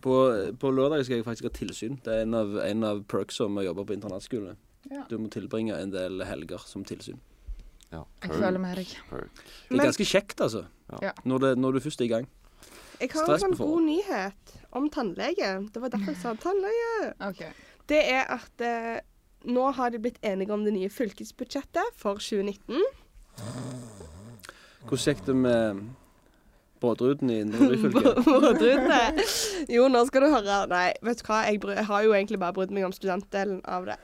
Speaker 4: På, på lørdag skal jeg faktisk ha tilsyn. Det er en av, en av perksa med å jobbe på internatskole.
Speaker 1: Ja.
Speaker 4: Du må tilbringe en del helger som tilsyn.
Speaker 3: Ja,
Speaker 1: Jeg føler med deg.
Speaker 3: perk.
Speaker 4: Det
Speaker 2: Men-
Speaker 4: er ganske kjekt, altså.
Speaker 1: Ja.
Speaker 4: Når, det, når du først er i gang.
Speaker 2: Jeg har en
Speaker 4: Stress
Speaker 2: sånn
Speaker 4: på
Speaker 2: god nyhet om tannlege. Det var derfor jeg sa tannlege.
Speaker 1: OK.
Speaker 2: Det er at eh, nå har de blitt enige om det nye fylkesbudsjettet for 2019.
Speaker 4: Hvordan gikk det med båtruten i Indre Ryfylke?
Speaker 2: Vådrute. Jo, nå skal du høre. Nei, vet du hva. Jeg, bry- jeg har jo egentlig bare brydd meg om studentdelen av det.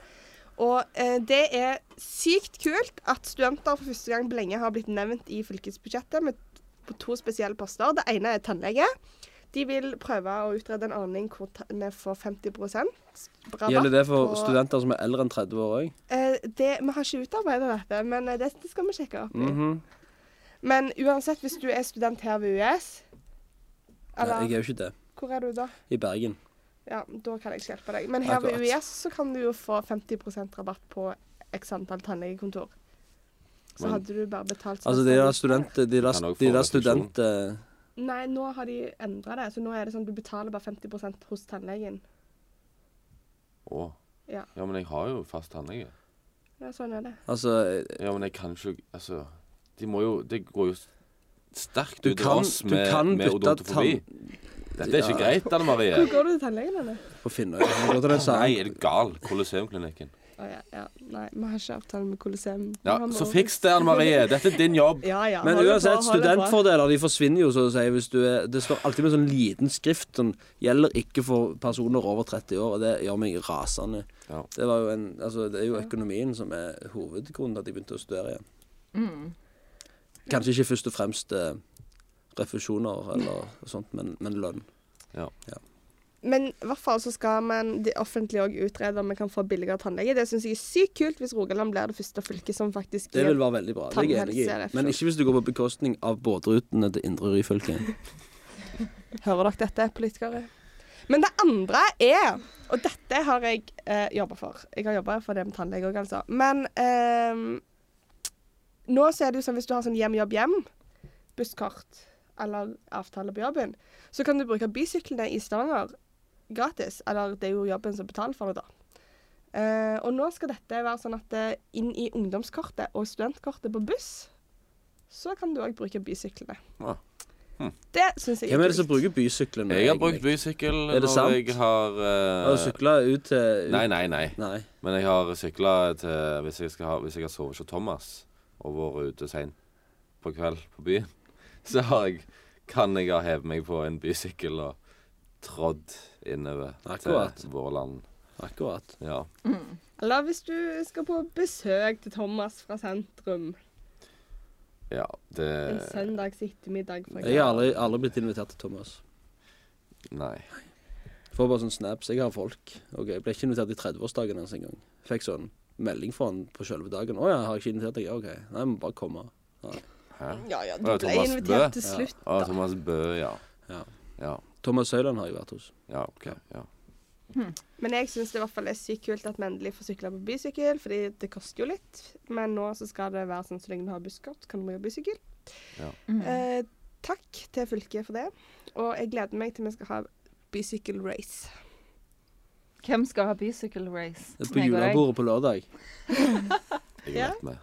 Speaker 2: Og eh, det er sykt kult at studenter for første gang på lenge har blitt nevnt i fylkesbudsjettet med, på to spesielle poster. Det ene er tannlege. De vil prøve å utrede en ordning hvor ta- vi får 50 rabatt.
Speaker 4: Gjelder det for
Speaker 2: på-
Speaker 4: studenter som er eldre enn 30 år òg?
Speaker 2: Eh, det, vi har ikke utarbeidet dette, men eh, det, det skal vi sjekke opp i.
Speaker 4: Mm.
Speaker 3: Mhm.
Speaker 2: Men uansett, hvis du er student her ved US Eller
Speaker 4: Jeg er jo ikke det.
Speaker 2: hvor er du da?
Speaker 4: I Bergen.
Speaker 2: Ja, Da kan jeg ikke hjelpe deg. Men her ved
Speaker 4: Akkurat.
Speaker 2: UiS så kan du jo få 50 rabatt på x antall tannlegekontor. Så
Speaker 3: Men-
Speaker 2: hadde du bare betalt
Speaker 4: Altså, de der
Speaker 2: semesteren.
Speaker 4: studenter De der,
Speaker 3: Kan dere få
Speaker 4: de der eh,
Speaker 3: refusjon?
Speaker 4: studenter
Speaker 2: Nei, nå har de endra det. Så nå er det sånn du betaler bare 50 hos tannlegen.
Speaker 3: Å.
Speaker 2: Ja.
Speaker 3: Ja, men jeg har jo fast tannlege.
Speaker 2: Ja, sånn er det.
Speaker 4: Altså,
Speaker 3: Ja, men jeg kan ikke Altså, de må jo Det går jo sterkt
Speaker 4: Du
Speaker 3: ut
Speaker 4: kan-
Speaker 3: av oss
Speaker 4: du
Speaker 3: med,
Speaker 4: kan
Speaker 3: med
Speaker 4: bytte
Speaker 3: odontofobi. Dette er ikke
Speaker 4: Ja.
Speaker 3: greit, Anne Marie.
Speaker 2: Hvor går du til tannlegen, eller?
Speaker 4: på Finnøy. Jeg går til den samme.
Speaker 3: Nei, er du gal? Colosseumklinikken.
Speaker 2: Å ja, ja. Nei, vi har ikke avtale med Colosseum.
Speaker 3: Ja,
Speaker 2: Vi har
Speaker 3: så
Speaker 2: bare-
Speaker 3: fiks det, Anne Marie. Dette er din jobb.
Speaker 2: Ja, ja.
Speaker 4: Men
Speaker 2: hold det på,
Speaker 4: uansett,
Speaker 2: hold det på.
Speaker 4: studentfordeler de forsvinner jo, så å si. Hvis du er, det står alltid med sånn liten skrift som gjelder ikke for personer over 30 år, og det gjør meg rasende.
Speaker 3: Ja.
Speaker 4: Det, var jo en, altså, det er jo økonomien som er hovedgrunnen til at jeg begynte å studere igjen.
Speaker 1: Mm.
Speaker 4: Kanskje ikke først og fremst eh, refusjoner eller sånt, men, men lønn.
Speaker 2: Men i hvert fall så skal man, det offentlige òg utrede om vi kan få billigere tannlege. Det syns jeg er sykt kult hvis Rogaland blir det første fylket som faktisk
Speaker 4: Det
Speaker 2: gir-
Speaker 4: vil være veldig bra. Det er jeg enig i.
Speaker 2: Tannhelserefusjon.
Speaker 4: Men ikke hvis du går på bekostning av båtrutene til Indre Ryfylke.
Speaker 2: Hører dere dette, politikere? Men det andre er, og dette har jeg eh, jobba for Jeg har jobba for det med tannlege òg, altså. Men ehm, nå så er det jo sånn hvis du har sånn hjem, jobb, hjem, busskort eller avtale på jobben, så kan du bruke bysyklene i Stavanger gratis. Eller det er jo jobben som betaler for det, da. Eh, og nå skal dette være sånn at eh, inn i ungdomskortet og studentkortet på buss, så kan du òg bruke bysyklene.
Speaker 3: Ja. Hm.
Speaker 2: Det syns jeg
Speaker 4: Hvem er det som
Speaker 2: kult.
Speaker 4: bruker bysyklene?
Speaker 3: Jeg har brukt
Speaker 4: egentlig?
Speaker 3: bysykkel
Speaker 4: Er det
Speaker 3: når
Speaker 4: sant?
Speaker 3: jeg har eh,
Speaker 4: Har du sykla ut til
Speaker 3: Nei, nei, nei.
Speaker 4: Nei.
Speaker 3: Men jeg har sykla til hvis jeg, skal ha, hvis jeg har sovet hos Thomas og vært ute seint på kveld på byen, så har jeg, kan jeg ha hevet meg på en bysykkel og trådd innover
Speaker 4: Akkurat.
Speaker 3: til Vårland.
Speaker 4: Akkurat.
Speaker 3: Ja.
Speaker 2: Eller hvis du skal på besøk til Thomas fra sentrum
Speaker 3: ja
Speaker 2: en
Speaker 3: det
Speaker 2: søndags ettermiddag. for
Speaker 4: Jeg har aldri, aldri blitt invitert til Thomas.
Speaker 3: Nei.
Speaker 4: Får bare sånn snaps. Jeg har folk. Ok, Jeg ble ikke invitert i 30-årsdagen hans engang. Fikk sånn melding fra han på selve dagen. 'Å ja, har jeg ikke invitert deg?' Ja, OK. Nei, jeg må bare komme.
Speaker 3: Hæ?
Speaker 2: Ja, ja, du
Speaker 3: Var det
Speaker 2: ble
Speaker 3: Thomas Bø?
Speaker 2: invitert til slutt.
Speaker 3: Å, Thomas Bø, ja.
Speaker 4: Ja.
Speaker 3: Ja,
Speaker 4: Thomas Søyland har jeg vært hos.
Speaker 3: ja OK. Ja.
Speaker 2: Men jeg syns det i hvert fall er sykt kult at vi endelig får sykle på bysykkel, fordi det koster jo litt. Men nå så skal det være sånn så lenge du har busskort, kan du bruke bysykkel.
Speaker 3: Ja.
Speaker 2: Eh, takk til fylket for det. Og jeg gleder meg til vi skal ha bysykkelrace.
Speaker 1: Hvem skal ha bicycle race?
Speaker 4: Det er På
Speaker 1: Meg og deg.
Speaker 4: julebordet på lørdag.
Speaker 3: Jeg er
Speaker 2: Ja.
Speaker 3: helt med.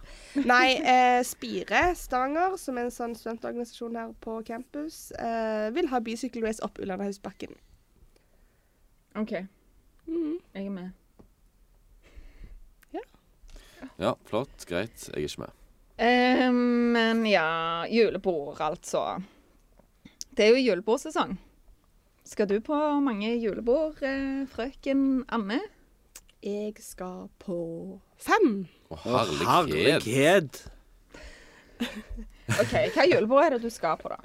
Speaker 2: Nei, eh, Spire Stavanger, som er en sånn studentorganisasjon her på campus, eh, vil ha bysykkelrace opp Ullandhausbakken.
Speaker 1: OK,
Speaker 2: Mm.
Speaker 1: jeg er med.
Speaker 3: Ja, flott. Greit. Jeg er ikke med.
Speaker 1: Eh, men ja, julebord, altså. Det er jo julebordsesong. Skal du på mange julebord, eh, frøken Anne?
Speaker 2: Jeg skal på fem.
Speaker 3: Å,
Speaker 4: Å,
Speaker 3: herlighet.
Speaker 4: herlighet.
Speaker 1: OK, hva julebord er det du skal på, da?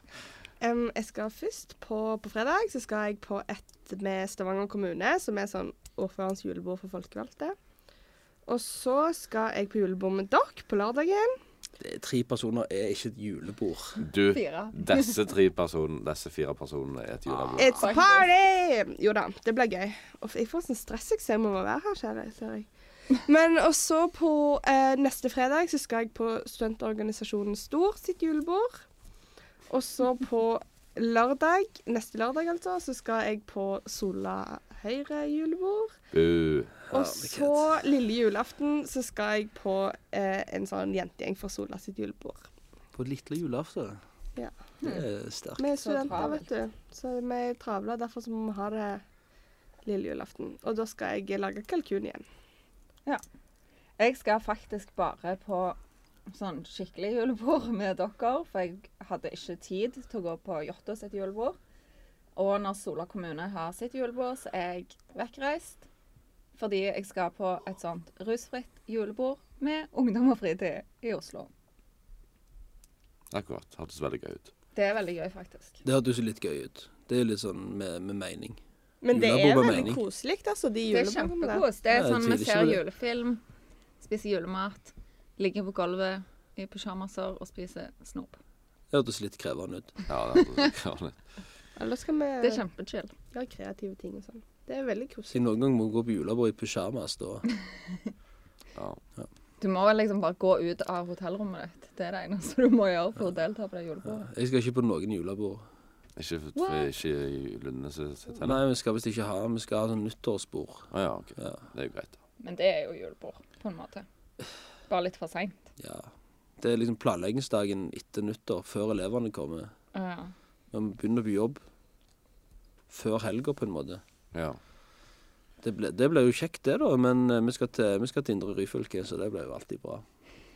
Speaker 2: Em, jeg skal først på, på fredag så skal jeg på et med Stavanger kommune, som er sånn ordførerens julebord for folkevalgte. Og så skal jeg på julebord med dere på lørdagen.
Speaker 4: Det er Tre personer er ikke et julebord.
Speaker 3: Du,
Speaker 1: Fire.
Speaker 3: disse tre personene, disse fire personene er et julebord.
Speaker 2: It's a party! Jo da, det blir gøy. Og jeg får sånn stress jeg ser jeg må være her, kjære. Ser jeg. Men også på eh, neste fredag så skal jeg på studentorganisasjonen Stor sitt julebord. Og så på lørdag, neste lørdag altså, så skal jeg på Sola Høyre julebord.
Speaker 3: Bu.
Speaker 2: Og
Speaker 4: Herlighet.
Speaker 2: så lille julaften så skal jeg på eh, en sånn jentegjeng fra Sola sitt julebord.
Speaker 4: På lille julaften.
Speaker 2: Ja.
Speaker 4: Det er sterkt.
Speaker 2: Vi er
Speaker 1: Så
Speaker 2: studenter,
Speaker 1: travelt.
Speaker 2: vet du, så vi er travle. Derfor så må vi ha det lille julaften. Og da skal jeg lage kalkun igjen.
Speaker 1: Jeg skal faktisk bare på sånn skikkelig julebord med dere, for jeg hadde ikke tid til å gå på Jåttå sitt julebord. Og når Sola kommune har sitt julebord, så er jeg vekkreist. Fordi jeg skal på et sånt rusfritt julebord med ungdom og fritid i Oslo.
Speaker 3: Akkurat. Hørtes veldig gøy ut.
Speaker 1: Det er veldig gøy, faktisk.
Speaker 4: Det hørtes jo litt gøy ut. Det er litt sånn med, med mening.
Speaker 2: Men det er
Speaker 4: Julebord med
Speaker 2: veldig
Speaker 4: mening.
Speaker 2: koselig, altså,
Speaker 1: Det
Speaker 2: de
Speaker 1: er
Speaker 2: julebordene der.
Speaker 1: kjempekos. Det er
Speaker 4: Ja, jeg
Speaker 1: sånn vi
Speaker 4: tviler ikke
Speaker 1: ser
Speaker 4: på det.
Speaker 1: julefilm, spiser julemat, ligger på gulvet i pysjamaser og spiser snop.
Speaker 4: Det hørtes litt krevende ut.
Speaker 3: Ja, det hørtes veldig gøy ut.
Speaker 2: Eller skal vi
Speaker 1: Det er kjempechill.
Speaker 2: gjøre kreative ting og sånn. Det er veldig
Speaker 4: Hvis jeg
Speaker 2: koselig.
Speaker 4: noen gang må gå på julebord i pysjamas, da
Speaker 3: Ja.
Speaker 1: Du må vel liksom bare gå ut av hotellrommet ditt. Det er det eneste du må gjøre for å delta på det julebordet.
Speaker 4: Jeg skal ikke på noen julebord.
Speaker 3: Ikke, for-
Speaker 1: What?
Speaker 3: ikke i Lunde sitt heller.
Speaker 4: Nei, vi skal visst ikke ha Vi skal ha sånn nyttårsbord.
Speaker 3: Å ja, OK.
Speaker 4: Ja.
Speaker 3: Det er jo greit. da.
Speaker 1: Men det er jo julebord, på en måte. Bare litt for seint.
Speaker 4: Ja. Det er liksom planleggingsdagen etter nyttår, før elevene kommer.
Speaker 1: Ja.
Speaker 4: Vi begynner på jobb før helga, på en måte.
Speaker 3: Ja.
Speaker 4: Det ble, det ble jo kjekt, det, da. Men eh, vi skal til, vi skal til Indre Ryfylke, så det ble jo alltid bra.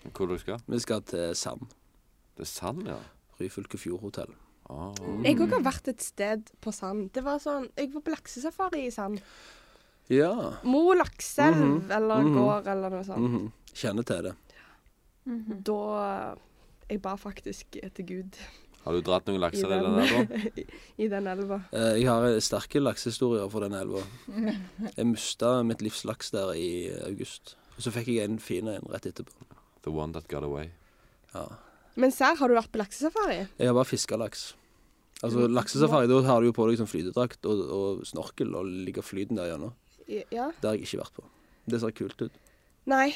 Speaker 3: Men Hvor du skal?
Speaker 4: Vi skal til Sand.
Speaker 3: Det er Sand, ja.
Speaker 4: Ryfylke fjordhotell.
Speaker 1: Mm.
Speaker 3: Ah.
Speaker 4: Mm.
Speaker 2: Jeg òg har vært et sted på sand. Det var sånn, Jeg var på laksesafari i sand.
Speaker 4: Ja.
Speaker 2: Mo lakseelv eller
Speaker 4: Mhm.
Speaker 2: gård eller noe sånt.
Speaker 4: mhm. Kjenner til det. Mhm.
Speaker 2: Da Jeg ba faktisk til Gud
Speaker 3: Har du dratt noen lakser i
Speaker 2: I
Speaker 3: den der, da?
Speaker 2: i den elva.
Speaker 4: Eh, Jeg har eh, sterke laksehistorier fra den elva. Jeg mista mitt livs laks der i eh, august. Og så fikk jeg en fin en rett etterpå.
Speaker 3: The one that got away.
Speaker 4: Ja.
Speaker 2: Men Serr, har du vært på laksesafari?
Speaker 4: Jeg har bare fiska laks.
Speaker 2: Mm.
Speaker 4: Altså Laksesafari, da har du jo på deg sånn flytedrakt og, og snorkel og ligger flyten der gjennom.
Speaker 2: I- Ja.
Speaker 4: Det har jeg ikke vært på. Det ser kult ut.
Speaker 2: Nei.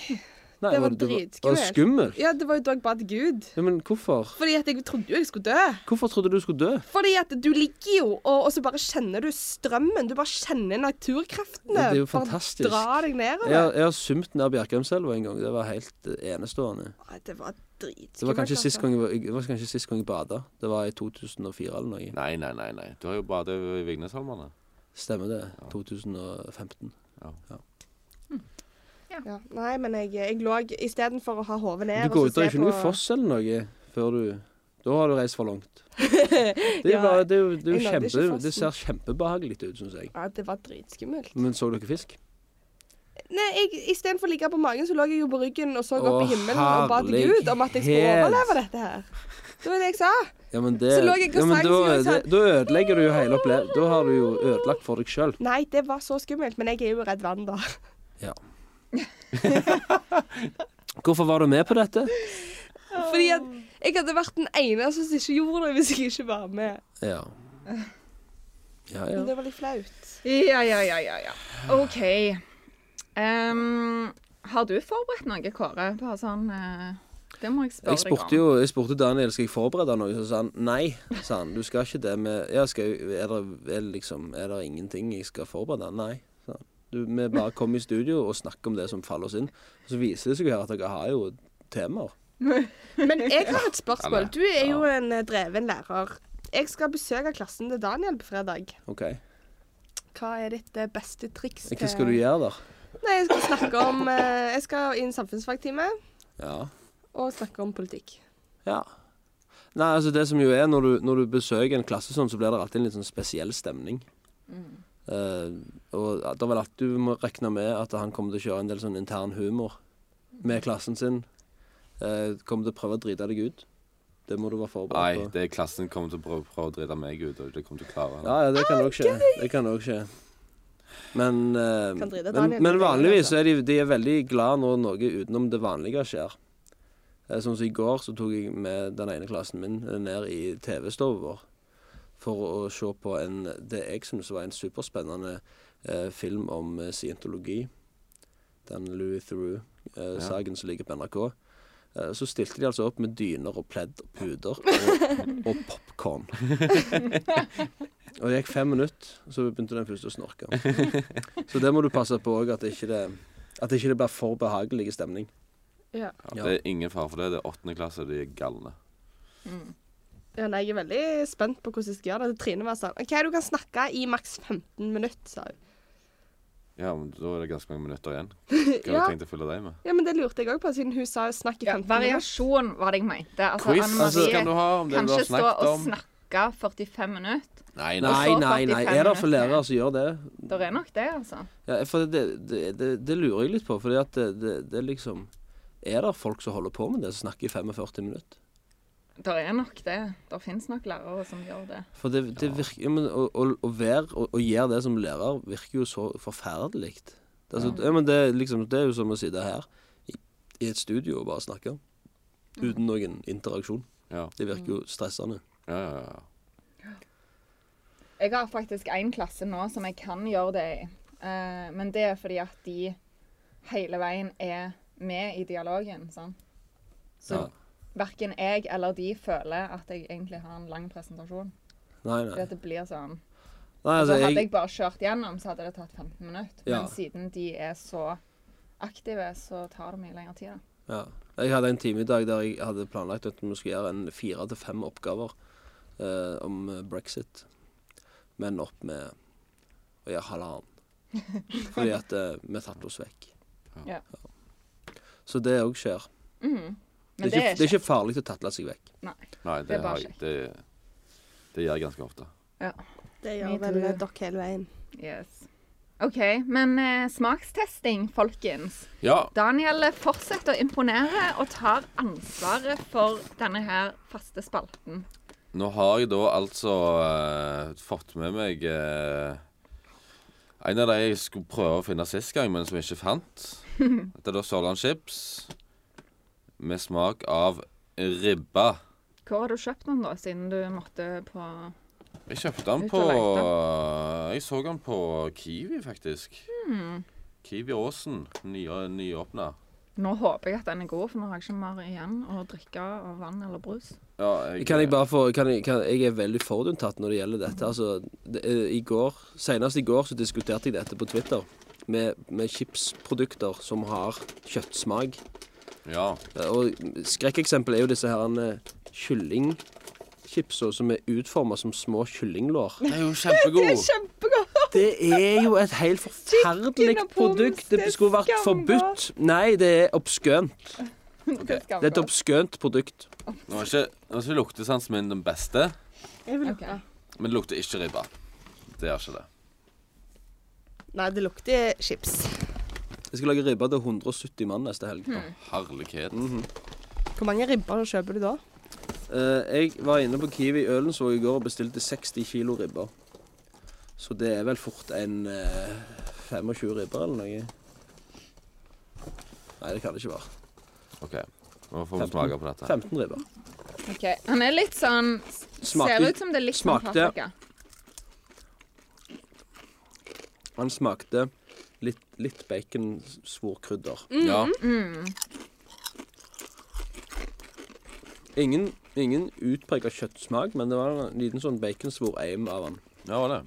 Speaker 4: Nei,
Speaker 2: Det var
Speaker 4: Det var
Speaker 2: dritskummelt.
Speaker 4: skummelt.
Speaker 2: Ja, det var jo da jeg ba til Gud.
Speaker 4: Ja, men hvorfor?
Speaker 2: Fordi at jeg trodde jo jeg skulle dø.
Speaker 4: Hvorfor trodde du skulle dø?
Speaker 2: Fordi at du ligger jo, og, og så bare kjenner du strømmen. Du bare kjenner naturkreftene.
Speaker 4: Ja, det er jo
Speaker 2: Bare
Speaker 4: fantastisk.
Speaker 2: Dra deg nedover.
Speaker 4: Jeg har, jeg har sumt ned Bjerkreimselva en gang. Det var helt eh, enestående.
Speaker 2: Nei, det var dritskummelt.
Speaker 4: Det var kanskje sist
Speaker 2: altså.
Speaker 4: gang jeg, var- det var kanskje sist gang jeg bada. Det var i 2004 eller noe.
Speaker 3: Nei, nei, nei. nei. Du har jo badet i Vignesholmene.
Speaker 4: Stemmer det. 2015.
Speaker 2: Ja. Nei, men jeg, jeg lå istedenfor å ha hodet
Speaker 4: Du
Speaker 2: ned og så
Speaker 4: går ut
Speaker 2: se
Speaker 4: av ikke noe
Speaker 2: på-
Speaker 4: foss eller noe før du Da har du reist for langt. Det,
Speaker 2: Ja,
Speaker 4: var, det, er jo- det, er jo
Speaker 2: jeg nådde ikke
Speaker 4: kjempe, det
Speaker 2: fossen.
Speaker 4: ser kjempebehagelig ut, syns jeg.
Speaker 2: Ja, det var dritskummelt.
Speaker 4: Men så dere fisk?
Speaker 2: Nei, jeg, Istedenfor å ligge på magen, så lå jeg jo på ryggen og så opp
Speaker 4: Å,
Speaker 2: i himmelen og ba til Gud om at jeg skulle
Speaker 4: herlighet.
Speaker 2: overleve dette her. Det var det jeg sa.
Speaker 4: Ja, men det,
Speaker 2: Så lå jeg og
Speaker 4: ja, men
Speaker 2: sang,
Speaker 4: da,
Speaker 2: så jeg sa-
Speaker 4: øde- da ødelegger du jo hele opplevelsen. Da har du jo ødelagt for deg sjøl.
Speaker 2: Nei, det var så skummelt, men jeg er jo redd vann, da.
Speaker 4: Hvorfor var du med på dette?
Speaker 2: Fordi at jeg hadde vært den eneste som ikke gjorde det hvis jeg ikke var med.
Speaker 4: Ja. Ja, ja.
Speaker 2: Men det var litt flaut.
Speaker 1: Ja, ja, ja, ja. ja. OK. Ehm, har du forberedt noe, Kåre, på sånn eh, Det må jeg spørre
Speaker 4: Jeg spurte
Speaker 1: deg om.
Speaker 4: jo jeg spurte Daniel skal jeg forberede noe, så sa han nei. sa han, du skal ikke det med ja, skal, jeg- er, det, er, det liksom, er det ingenting jeg skal forberede? Nei. sa han. Du, vi bare kommer i studio og snakker om det som faller oss inn. Og så viser det seg jo her at dere har jo temaer.
Speaker 2: Men jeg har et spørsmål.
Speaker 3: Eller,
Speaker 2: Du er jo en eh, dreven lærer. Jeg skal besøke klassen til Daniel på fredag.
Speaker 4: OK.
Speaker 2: Hva er ditt eh, beste triks
Speaker 4: Hva skal du gjøre der?
Speaker 2: Nei, jeg skal snakke om eh, Jeg skal i en samfunnsfagtime
Speaker 4: Ja.
Speaker 2: og snakke om politikk.
Speaker 4: ja. Nei, altså det som jo er når du, når du besøker en klasse sånn, så blir det alltid en litt sånn spesiell stemning. Eh, og det er vel at du må regne med at han kommer til å kjøre en del sånn intern humor med klassen sin. Eh, kommer til å prøve å drite deg ut. Det må du være
Speaker 3: Nei,
Speaker 4: forberedt på.
Speaker 3: det er klassen kommer til å prøve, prøve å drite meg ut, og det kommer til å klare det.
Speaker 4: Ja, ja, det kan òg skje. Det kan òg skje. Men, eh,
Speaker 2: Kan
Speaker 4: men,
Speaker 2: drite Daniel ut,
Speaker 4: men
Speaker 2: det kan jeg
Speaker 4: vanligvis så er de, de er veldig glad når noe utenom det vanlige skjer. Eh, Sånn som i går så tok jeg med den ene klassen min eh, ned i TV-stua vår for å se på en, det jeg syns var en superspennende eh, film om eh, scientologi. Den Louis
Speaker 3: Ja.
Speaker 4: Theroux-saken som ligger på NRK. Eh, så stilte de altså opp med dyner og pledd og puder og, og popkorn. og det gikk fem minutter, så begynte den første å snorke. Så det må du passe på òg, at ikke det at ikke det blir for behagelig stemning.
Speaker 2: Ja.
Speaker 3: Ja, det er ingen fare for det. Det er åttende klasse, de er galne.
Speaker 2: Ja, nei, jeg er veldig spent på hvordan jeg skal gjøre det. Trine var sånn OK, du kan snakke i maks 15 minutter, sa hun.
Speaker 3: Ja, men da er det ganske mange minutter igjen. Hva har
Speaker 2: Ja.
Speaker 3: du tenkt å fylle deg med?
Speaker 2: Ja, men det lurte jeg òg på, siden hun sa snakk i
Speaker 1: Ja,
Speaker 2: 15 minutter.
Speaker 1: variasjon var det jeg mente. Altså,
Speaker 3: Quiz
Speaker 1: Anne
Speaker 3: altså,
Speaker 1: Marie
Speaker 3: kan du ha om det
Speaker 1: kan
Speaker 3: du har
Speaker 1: ikke stå
Speaker 3: snakket
Speaker 1: og
Speaker 3: om.
Speaker 1: snakke 45 minutter.
Speaker 3: Nei, nei.
Speaker 4: Nei,
Speaker 1: så
Speaker 4: nei, nei.
Speaker 1: 45
Speaker 4: Er det for
Speaker 1: minutter.
Speaker 4: lærere som gjør det?
Speaker 1: Det er nok det, altså.
Speaker 4: Ja, for det, det, det, det lurer jeg litt på, fordi at det, det, det liksom Er det folk som holder på med det, som snakker i 45 minutter?
Speaker 1: Det er nok det. Det fins nok lærere som gjør det.
Speaker 4: For det, det virker ja, men, å, å, å være og gjøre det som lærer virker jo så forferdelig. Det, er så- ja, men det, er liksom, det er jo som å sitte her i, i et studio og bare snakke.
Speaker 1: Mm.
Speaker 4: Uten noen interaksjon.
Speaker 3: Ja,
Speaker 4: Det virker jo stressende.
Speaker 3: ja, ja. ja.
Speaker 1: Jeg har faktisk én klasse nå som jeg kan gjøre det i. Eh, men det er fordi at de hele veien er med i dialogen. Sant? Så
Speaker 4: Ja.
Speaker 1: verken jeg eller de føler at jeg egentlig har en lang presentasjon.
Speaker 4: Nei,
Speaker 1: Fordi
Speaker 4: nei.
Speaker 1: at det blir sånn.
Speaker 4: nei
Speaker 1: Altså,
Speaker 4: altså,
Speaker 1: hadde jeg
Speaker 4: jeg,
Speaker 1: bare kjørt gjennom, så hadde det tatt 15 minutter.
Speaker 4: Ja.
Speaker 1: Men siden de er så aktive, så tar det mye lengre tid. Da.
Speaker 4: ja. jeg hadde en time i dag der jeg hadde planlagt at vi skulle gjøre en fire til fem oppgaver eh, om brexit, men opp med å gjøre halvannen. Fordi at eh, vi tatt oss vekk.
Speaker 1: Ja.
Speaker 4: Så det òg skjer.
Speaker 1: Mhm.
Speaker 4: Det
Speaker 1: Men
Speaker 4: er, ikke, det er ikke farlig å tatle seg vekk.
Speaker 1: Nei.
Speaker 3: Nei, det,
Speaker 1: Det er bare
Speaker 3: har jeg, det, det gjør jeg ganske ofte.
Speaker 1: Ja.
Speaker 2: Det
Speaker 1: Me
Speaker 2: gjør vel
Speaker 1: too.
Speaker 2: eh, dere hele veien.
Speaker 1: Yes. OK. Men eh, smakstesting, folkens.
Speaker 3: Ja,
Speaker 1: Daniel fortsetter å imponere og tar ansvaret for denne her faste spalten.
Speaker 3: Nå har jeg da altså eh, fått med meg eh, en av de jeg skulle prøve å finne sist gang, men som jeg ikke fant. Dette er da Sørland Chips med smak av ribba.
Speaker 1: Hvor har du kjøpt den, da, siden du måtte på
Speaker 3: Jeg kjøpte den
Speaker 1: Ut
Speaker 3: på eh,
Speaker 1: og
Speaker 3: Jeg så den på Kiwi, faktisk.
Speaker 1: Hmm.
Speaker 3: Kiwi Åsen. Nye- Nyåpna.
Speaker 1: Nå håper jeg at den er god, for nå har jeg ikke mer igjen å drikke av vann eller brus.
Speaker 3: Ja,
Speaker 4: Kan jeg bare få kan jeg, kan, jeg er veldig forutinntatt når det gjelder dette. Altså, det, eh, i går, senest i går så diskuterte jeg dette på Twitter med, med chipsprodukter som har kjøttsmak.
Speaker 3: Ja.
Speaker 4: Eh, Og skrekkeksempel er jo disse herrene kyllingchipsa som er utforma som små kyllinglår.
Speaker 3: Den er jo kjempegod.
Speaker 1: Kjempegodt!
Speaker 4: Det er jo et helt forferdelig
Speaker 1: Chicken og pommes,
Speaker 4: produkt. Det skulle vært
Speaker 1: det er
Speaker 4: forbudt. Nei, det er obskønt. Det er et obskønt produkt.
Speaker 3: Nå er ikke, nå er ikke luktesansen min den beste,
Speaker 2: Jeg vil
Speaker 1: Ok.
Speaker 3: men det lukter ikke ribba. Det gjør ikke det.
Speaker 2: Nei, det lukter chips.
Speaker 4: Jeg skal lage ribbe til 170 mann neste helg.
Speaker 3: Mhm.
Speaker 4: Mhm.
Speaker 3: Herlighet.
Speaker 2: Hvor mange ribber kjøper du da?
Speaker 4: Eh, jeg var inne på Kiwi i Ølensvåg i går og bestilte 60 kilo ribber. Så det er vel fort en eh, 25 ribber eller noe. Nei, det kan det ikke være.
Speaker 3: OK. Nå får vi
Speaker 4: 15.
Speaker 3: smake på dette. her.
Speaker 4: 15 ribber.
Speaker 1: Ok, Han er litt sånn Ser
Speaker 4: Smakte-
Speaker 1: ut som det er litt sånn
Speaker 4: smakte-
Speaker 1: paprika.
Speaker 4: Han smakte litt, litt baconsvorkrydder.
Speaker 3: Ja.
Speaker 2: Mm.
Speaker 4: Ingen, ingen utprega kjøttsmak, men det var en liten sånn baconsvor-aim av han.
Speaker 3: ja, var det.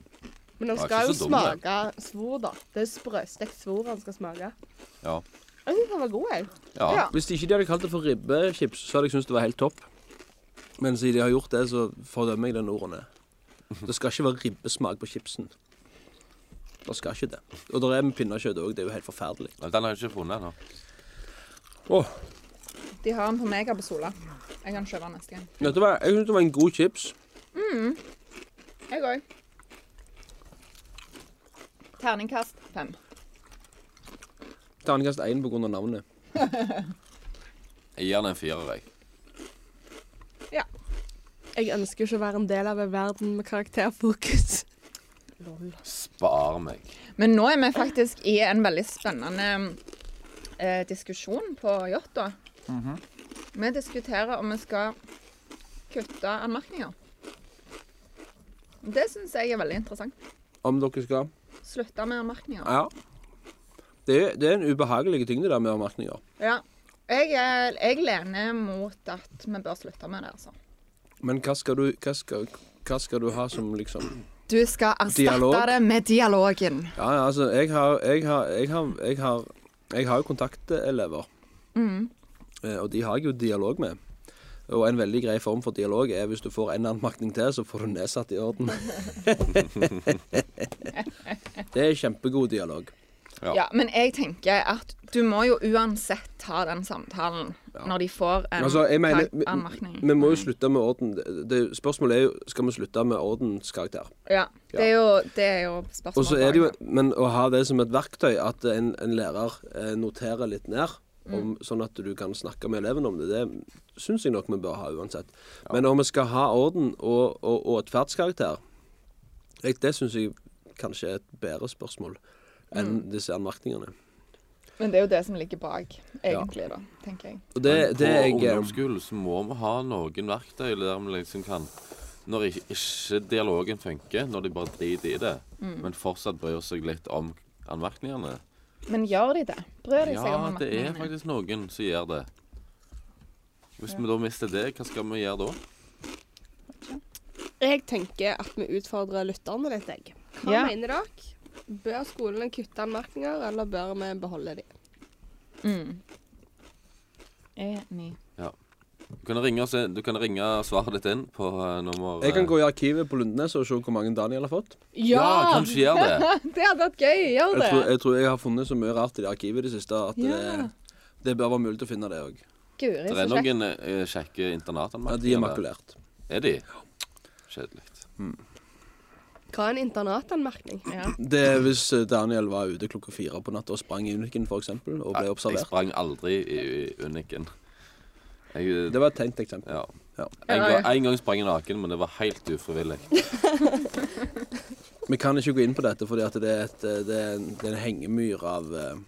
Speaker 2: Men han
Speaker 3: Ja,
Speaker 2: skal
Speaker 3: ikke
Speaker 2: jo
Speaker 3: så dum, da.
Speaker 2: smake svor, da. Det er sprøstekt svor han skal smake.
Speaker 3: Ja.
Speaker 2: Jeg syns han var god, jeg.
Speaker 3: Ja.
Speaker 1: Ja.
Speaker 4: Hvis de ikke de hadde kalt det for ribbechips, så hadde jeg syntes det var helt topp. Men siden de har gjort det, så fordømmer jeg den ordene. Det skal ikke være ribbesmak på chipsen. Det skal ikke det. Og det er med pinnekjøtt òg. Det er jo helt forferdelig.
Speaker 3: Men Den har jeg ikke funnet ennå.
Speaker 4: Åh,
Speaker 1: De har den på mega på Sola. Jeg kan kjøpe den neste gang.
Speaker 4: vet du hva? Jeg syns det var en god chips.
Speaker 1: Jeg òg. Terningkast fem.
Speaker 4: Terningkast én pga. navnet.
Speaker 3: Jeg gir den en firer, jeg.
Speaker 2: Jeg ønsker ikke å være en del av en verden med karakterfokus.
Speaker 3: Spar meg.
Speaker 1: Men nå er vi faktisk i en veldig spennende eh, diskusjon på Jåttå.
Speaker 4: Mhm.
Speaker 1: Vi diskuterer om vi skal kutte anmerkninger. Det syns jeg er veldig interessant.
Speaker 4: Om dere skal.
Speaker 1: Slutte med anmerkninger.
Speaker 4: Ja. Det, er- det er en ubehagelig ting, det der med anmerkninger.
Speaker 1: Ja. Jeg, er- jeg lener mot at vi bør slutte med det, altså.
Speaker 4: Men hva skal du, hva skal, hva skal du ha som liksom
Speaker 1: Du skal erstatte
Speaker 4: Dialog.
Speaker 1: det med dialogen.
Speaker 4: Ja, ja, altså, jeg har Jeg har, jeg har, jeg har, jeg har jo kontaktelever. Eh, Og de har jeg jo dialog med. Og en veldig grei form for dialog er hvis du får en anmerkning til, så får du nedsatt i orden. det er kjempegod dialog.
Speaker 3: Ja.
Speaker 1: Ja, men jeg tenker at du må jo uansett ta den samtalen når de får en
Speaker 4: Altså, jeg mener,
Speaker 1: kar- anmerkning.
Speaker 4: vi, vi må jo slutte med orden. Det, det, spørsmålet er jo skal vi slutte med ordenskarakter.
Speaker 1: Ja, det er jo, det er jo spørsmålet.
Speaker 4: Og så er det jo, Men å ha det som et verktøy, at en, en lærer eh, noterer litt ned, om, sånn at du kan snakke med eleven om det, det syns jeg nok vi bør ha uansett. Men om vi skal ha orden og, og, og atferdskarakter, jeg- det syns jeg kanskje er et bedre spørsmål enn disse anmerkningene.
Speaker 1: Men det er jo det som ligger bak, egentlig, da, tenker jeg.
Speaker 4: Og det,
Speaker 3: Men på
Speaker 4: det er jeg eh,
Speaker 3: ungdomsskolen så må vi ha noen verktøy der vi liksom kan Når ikke, ikke dialogen funker, når de bare driter i det,
Speaker 2: Mm.
Speaker 3: men fortsatt bryr seg litt om anmerkningene.
Speaker 1: Men gjør de det? Bryr de seg om
Speaker 3: Ja, det er
Speaker 1: anmerkningene?
Speaker 3: faktisk noen som gjør det. Hvis vi da mister det, hva skal vi gjøre da?
Speaker 2: Jeg tenker at vi utfordrer lytterne litt, jeg. Hva
Speaker 1: Ja.
Speaker 2: mener dere? Bør skolene kutte anmerkninger, eller bør vi beholde de?
Speaker 1: Mm. Enig.
Speaker 3: Du kan ringe, oss, du kan ringe svaret ditt inn på eh, nummer
Speaker 4: Jeg kan
Speaker 3: eh,
Speaker 4: gå i arkivet på Lundnes og se hvor mange Daniel har fått.
Speaker 3: Ja, kanskje gjør det.
Speaker 1: Det hadde vært gøy. Gjør
Speaker 4: Jeg
Speaker 1: det.
Speaker 4: tror, jeg tror jeg har funnet så mye rart i det arkivet i det siste at
Speaker 1: Ja.
Speaker 4: det, det bør være mulig til å finne det òg.
Speaker 1: Guri,
Speaker 3: Det
Speaker 1: så
Speaker 3: er
Speaker 1: kjekt.
Speaker 3: noen eh, kjekke
Speaker 4: Ja, de er
Speaker 3: internatanmerkninger.
Speaker 4: makulert.
Speaker 3: der. er de? Kjedelig.
Speaker 2: Hva er en internatanmerkning?
Speaker 1: Ja.
Speaker 4: Det er hvis eh, Daniel var ute klokka fire på natta og sprang i uniken for eksempel, og ble
Speaker 3: Jeg
Speaker 4: observert.
Speaker 3: sprang aldri i, i uniken. Jeg,
Speaker 4: Det var et tenkt eksempel.
Speaker 3: Ja.
Speaker 4: Ja.
Speaker 3: En,
Speaker 1: Ja,
Speaker 3: gang,
Speaker 1: ja.
Speaker 3: en gang sprang jeg naken, men det var helt ufrivillig.
Speaker 4: Vi kan ikke gå inn på dette, fordi at det er, et, eh, det er, en, det er en hengemyr av eh,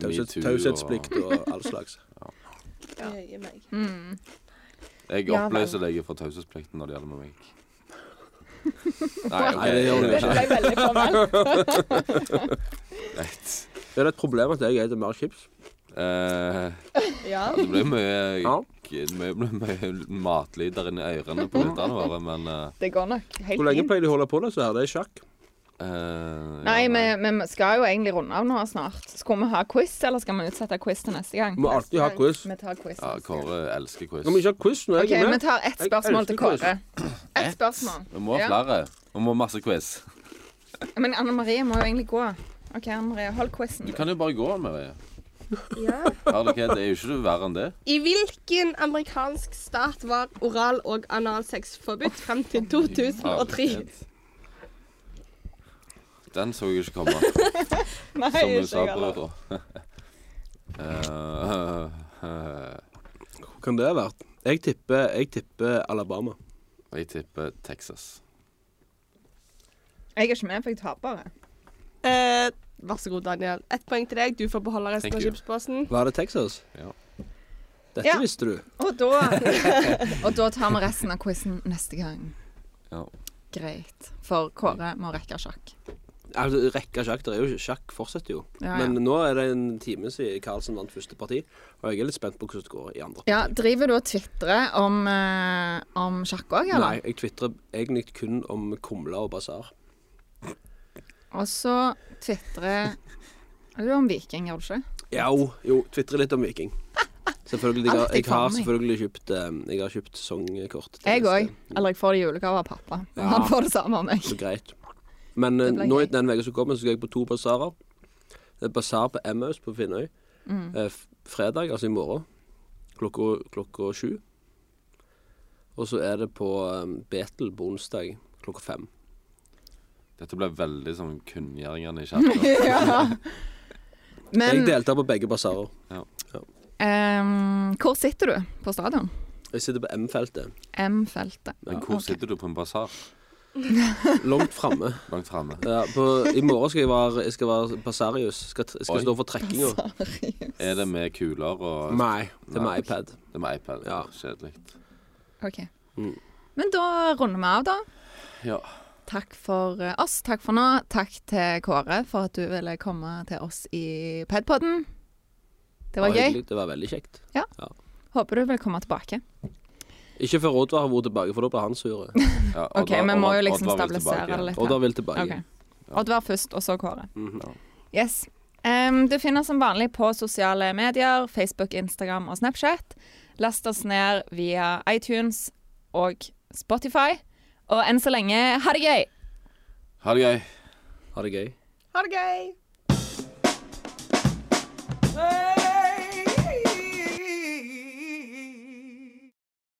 Speaker 4: taushets-
Speaker 3: Metoo og-
Speaker 4: taushetsplikt og all slags.
Speaker 2: Ja. Mm. Gi meg.
Speaker 3: Jeg
Speaker 1: Ja vel.
Speaker 3: oppløser deg fra taushetsplikten når det gjelder med meg.
Speaker 4: Nei, det gjør du
Speaker 1: Det
Speaker 3: Nei,
Speaker 1: ble veldig formelt.
Speaker 3: ok. Greit.
Speaker 4: Er det et problem at jeg spiser mer chips?
Speaker 3: Eh,
Speaker 2: Ja.
Speaker 3: det ble mye,
Speaker 4: Ja. Mm.
Speaker 3: mye, mye matlyder inni ørene på lytterne våre, men eh,
Speaker 1: Det går nok
Speaker 4: Hvor
Speaker 1: helt
Speaker 4: lenge
Speaker 1: fint.
Speaker 4: pleier de å holde på det så her? Det er sjakk.
Speaker 3: eh,
Speaker 1: Nei,
Speaker 3: ja,
Speaker 1: vi, vi skal jo egentlig runde av nå snart. Skal vi ha quiz, eller skal vi utsette quiz til neste gang?
Speaker 4: Vi må alltid ha quiz.
Speaker 1: Vi tar quiz.
Speaker 3: Ja,
Speaker 1: neste gang.
Speaker 3: Kåre elsker quiz.
Speaker 4: Kan vi ikke ha quiz når
Speaker 1: OK,
Speaker 4: jeg er
Speaker 1: vi
Speaker 4: med?
Speaker 1: tar ett
Speaker 4: Jeg
Speaker 1: spørsmål
Speaker 4: elsker
Speaker 1: til
Speaker 4: quiz.
Speaker 1: Kåre. Ett spørsmål.
Speaker 3: Vi må ha
Speaker 1: Ja.
Speaker 3: flere. Vi må ha masse quiz.
Speaker 1: Men Anne Marie må jo egentlig gå. OK, Anne Marie, hold quizen.
Speaker 3: Du kan jo bare gå med det.
Speaker 2: ja.
Speaker 3: Herlighet, det er jo ikke noe verre enn det.
Speaker 2: I hvilken amerikansk stat var oral- og analsex forbudt frem til 2003?
Speaker 3: Herlighet. Den så jeg ikke komme,
Speaker 1: Nei,
Speaker 3: som hun
Speaker 1: ikke
Speaker 3: sa
Speaker 1: jeg
Speaker 3: på
Speaker 1: heller.
Speaker 3: da. Eh, eh,
Speaker 4: Hvor kan det ha vært? Jeg tipper, jeg tipper Alabama.
Speaker 3: jeg tipper Texas.
Speaker 1: Jeg er ikke med, for jeg taper.
Speaker 2: Eh, vær så god, Daniel. Ett poeng til deg. Du får beholde resten
Speaker 3: Thank
Speaker 2: av
Speaker 3: you.
Speaker 2: chipsposen.
Speaker 4: Var det Texas?
Speaker 3: Ja.
Speaker 4: Dette
Speaker 1: Ja.
Speaker 4: visste du.
Speaker 1: Og da, og da tar vi resten av quizen neste gang.
Speaker 3: Ja.
Speaker 1: Greit. For Kåre må rekke sjakk.
Speaker 4: Altså, Rekke sjakk. Det er jo ikke- sjakk fortsetter jo.
Speaker 1: Ja, ja.
Speaker 4: Men nå er det en time siden Carlsen vant første parti, og jeg er litt spent på hvordan det går i andre.
Speaker 1: Ja, driver du og tvitrer om, eh, om sjakk òg, eller?
Speaker 4: Nei, jeg tvitrer egentlig kun om kumler og basar.
Speaker 1: Og så tvitrer Er det om viking, gjør du ikke?
Speaker 4: Jo, jo, tvitrer litt om Viking. Selvfølgelig, jeg har,
Speaker 1: Alt jeg
Speaker 4: jeg har
Speaker 1: kan, jeg.
Speaker 4: selvfølgelig kjøpt, eh, jeg har kjøpt songkort. til
Speaker 1: Jeg
Speaker 4: neste-
Speaker 1: òg. Eller jeg får det i julegave av pappa.
Speaker 4: Ja.
Speaker 1: Han får det samme av meg.
Speaker 4: Så greit. Men eh,
Speaker 1: Det blir
Speaker 4: nå
Speaker 1: gøy.
Speaker 4: i den uka som kommer, så skal jeg på to basarer. Det er basar på Emmaus på Finnøy.
Speaker 1: Mm.
Speaker 4: Eh, f- fredag, altså i morgen, klokka, klokka sju. Og så er det på eh, Betel på onsdag klokka fem.
Speaker 3: Dette ble veldig sånn kunngjøringene i kjerka.
Speaker 1: ja.
Speaker 4: jeg
Speaker 1: Men
Speaker 4: deltar på begge basarer.
Speaker 1: ehm, hvor sitter du på stadion?
Speaker 4: Jeg sitter på M-feltet.
Speaker 1: M-feltet.
Speaker 3: Men hvor
Speaker 1: Ok.
Speaker 3: sitter du på en basar?
Speaker 4: Langt framme.
Speaker 3: Langt framme.
Speaker 4: Ja, på- I morgen skal jeg være, jeg skal være basarius. Skal, t- skal
Speaker 3: Oi.
Speaker 4: stå for trekkinga.
Speaker 3: Er det med kuler og
Speaker 4: Nei, det er
Speaker 3: Nei.
Speaker 4: med iPad.
Speaker 3: Det er med iPad.
Speaker 4: Ja.
Speaker 3: Kjedelig.
Speaker 1: OK.
Speaker 4: Mm.
Speaker 1: Men da runder vi av, da.
Speaker 3: Ja.
Speaker 1: Takk for eh, oss. Takk for nå. Takk til Kåre for at du ville komme til oss i Padpodden. Det var gøy.
Speaker 4: hyggelig. Det var veldig kjekt.
Speaker 1: Håper du vil komme tilbake.
Speaker 4: Ikke før Oddvar har vært tilbake, for da blir han sur.
Speaker 3: ja
Speaker 1: OK,
Speaker 3: Oddvar-
Speaker 1: vi må
Speaker 3: Oddvar-
Speaker 1: jo liksom
Speaker 3: Oddvar vil tilbake
Speaker 1: stabilisere det
Speaker 3: igjen.
Speaker 1: litt. her.
Speaker 4: Oddvar vil tilbake.
Speaker 1: Ok. Oddvar først, og så Kåre.
Speaker 4: Mhm.
Speaker 1: Yes. Em, du finner oss som vanlig på sosiale medier, Facebook, Instagram og Snapchat. Last oss ned via iTunes og Spotify. Og enn så lenge, ha det gøy!
Speaker 3: Ha det gøy.
Speaker 4: Ha det gøy.
Speaker 2: Ha det gøy! Hey!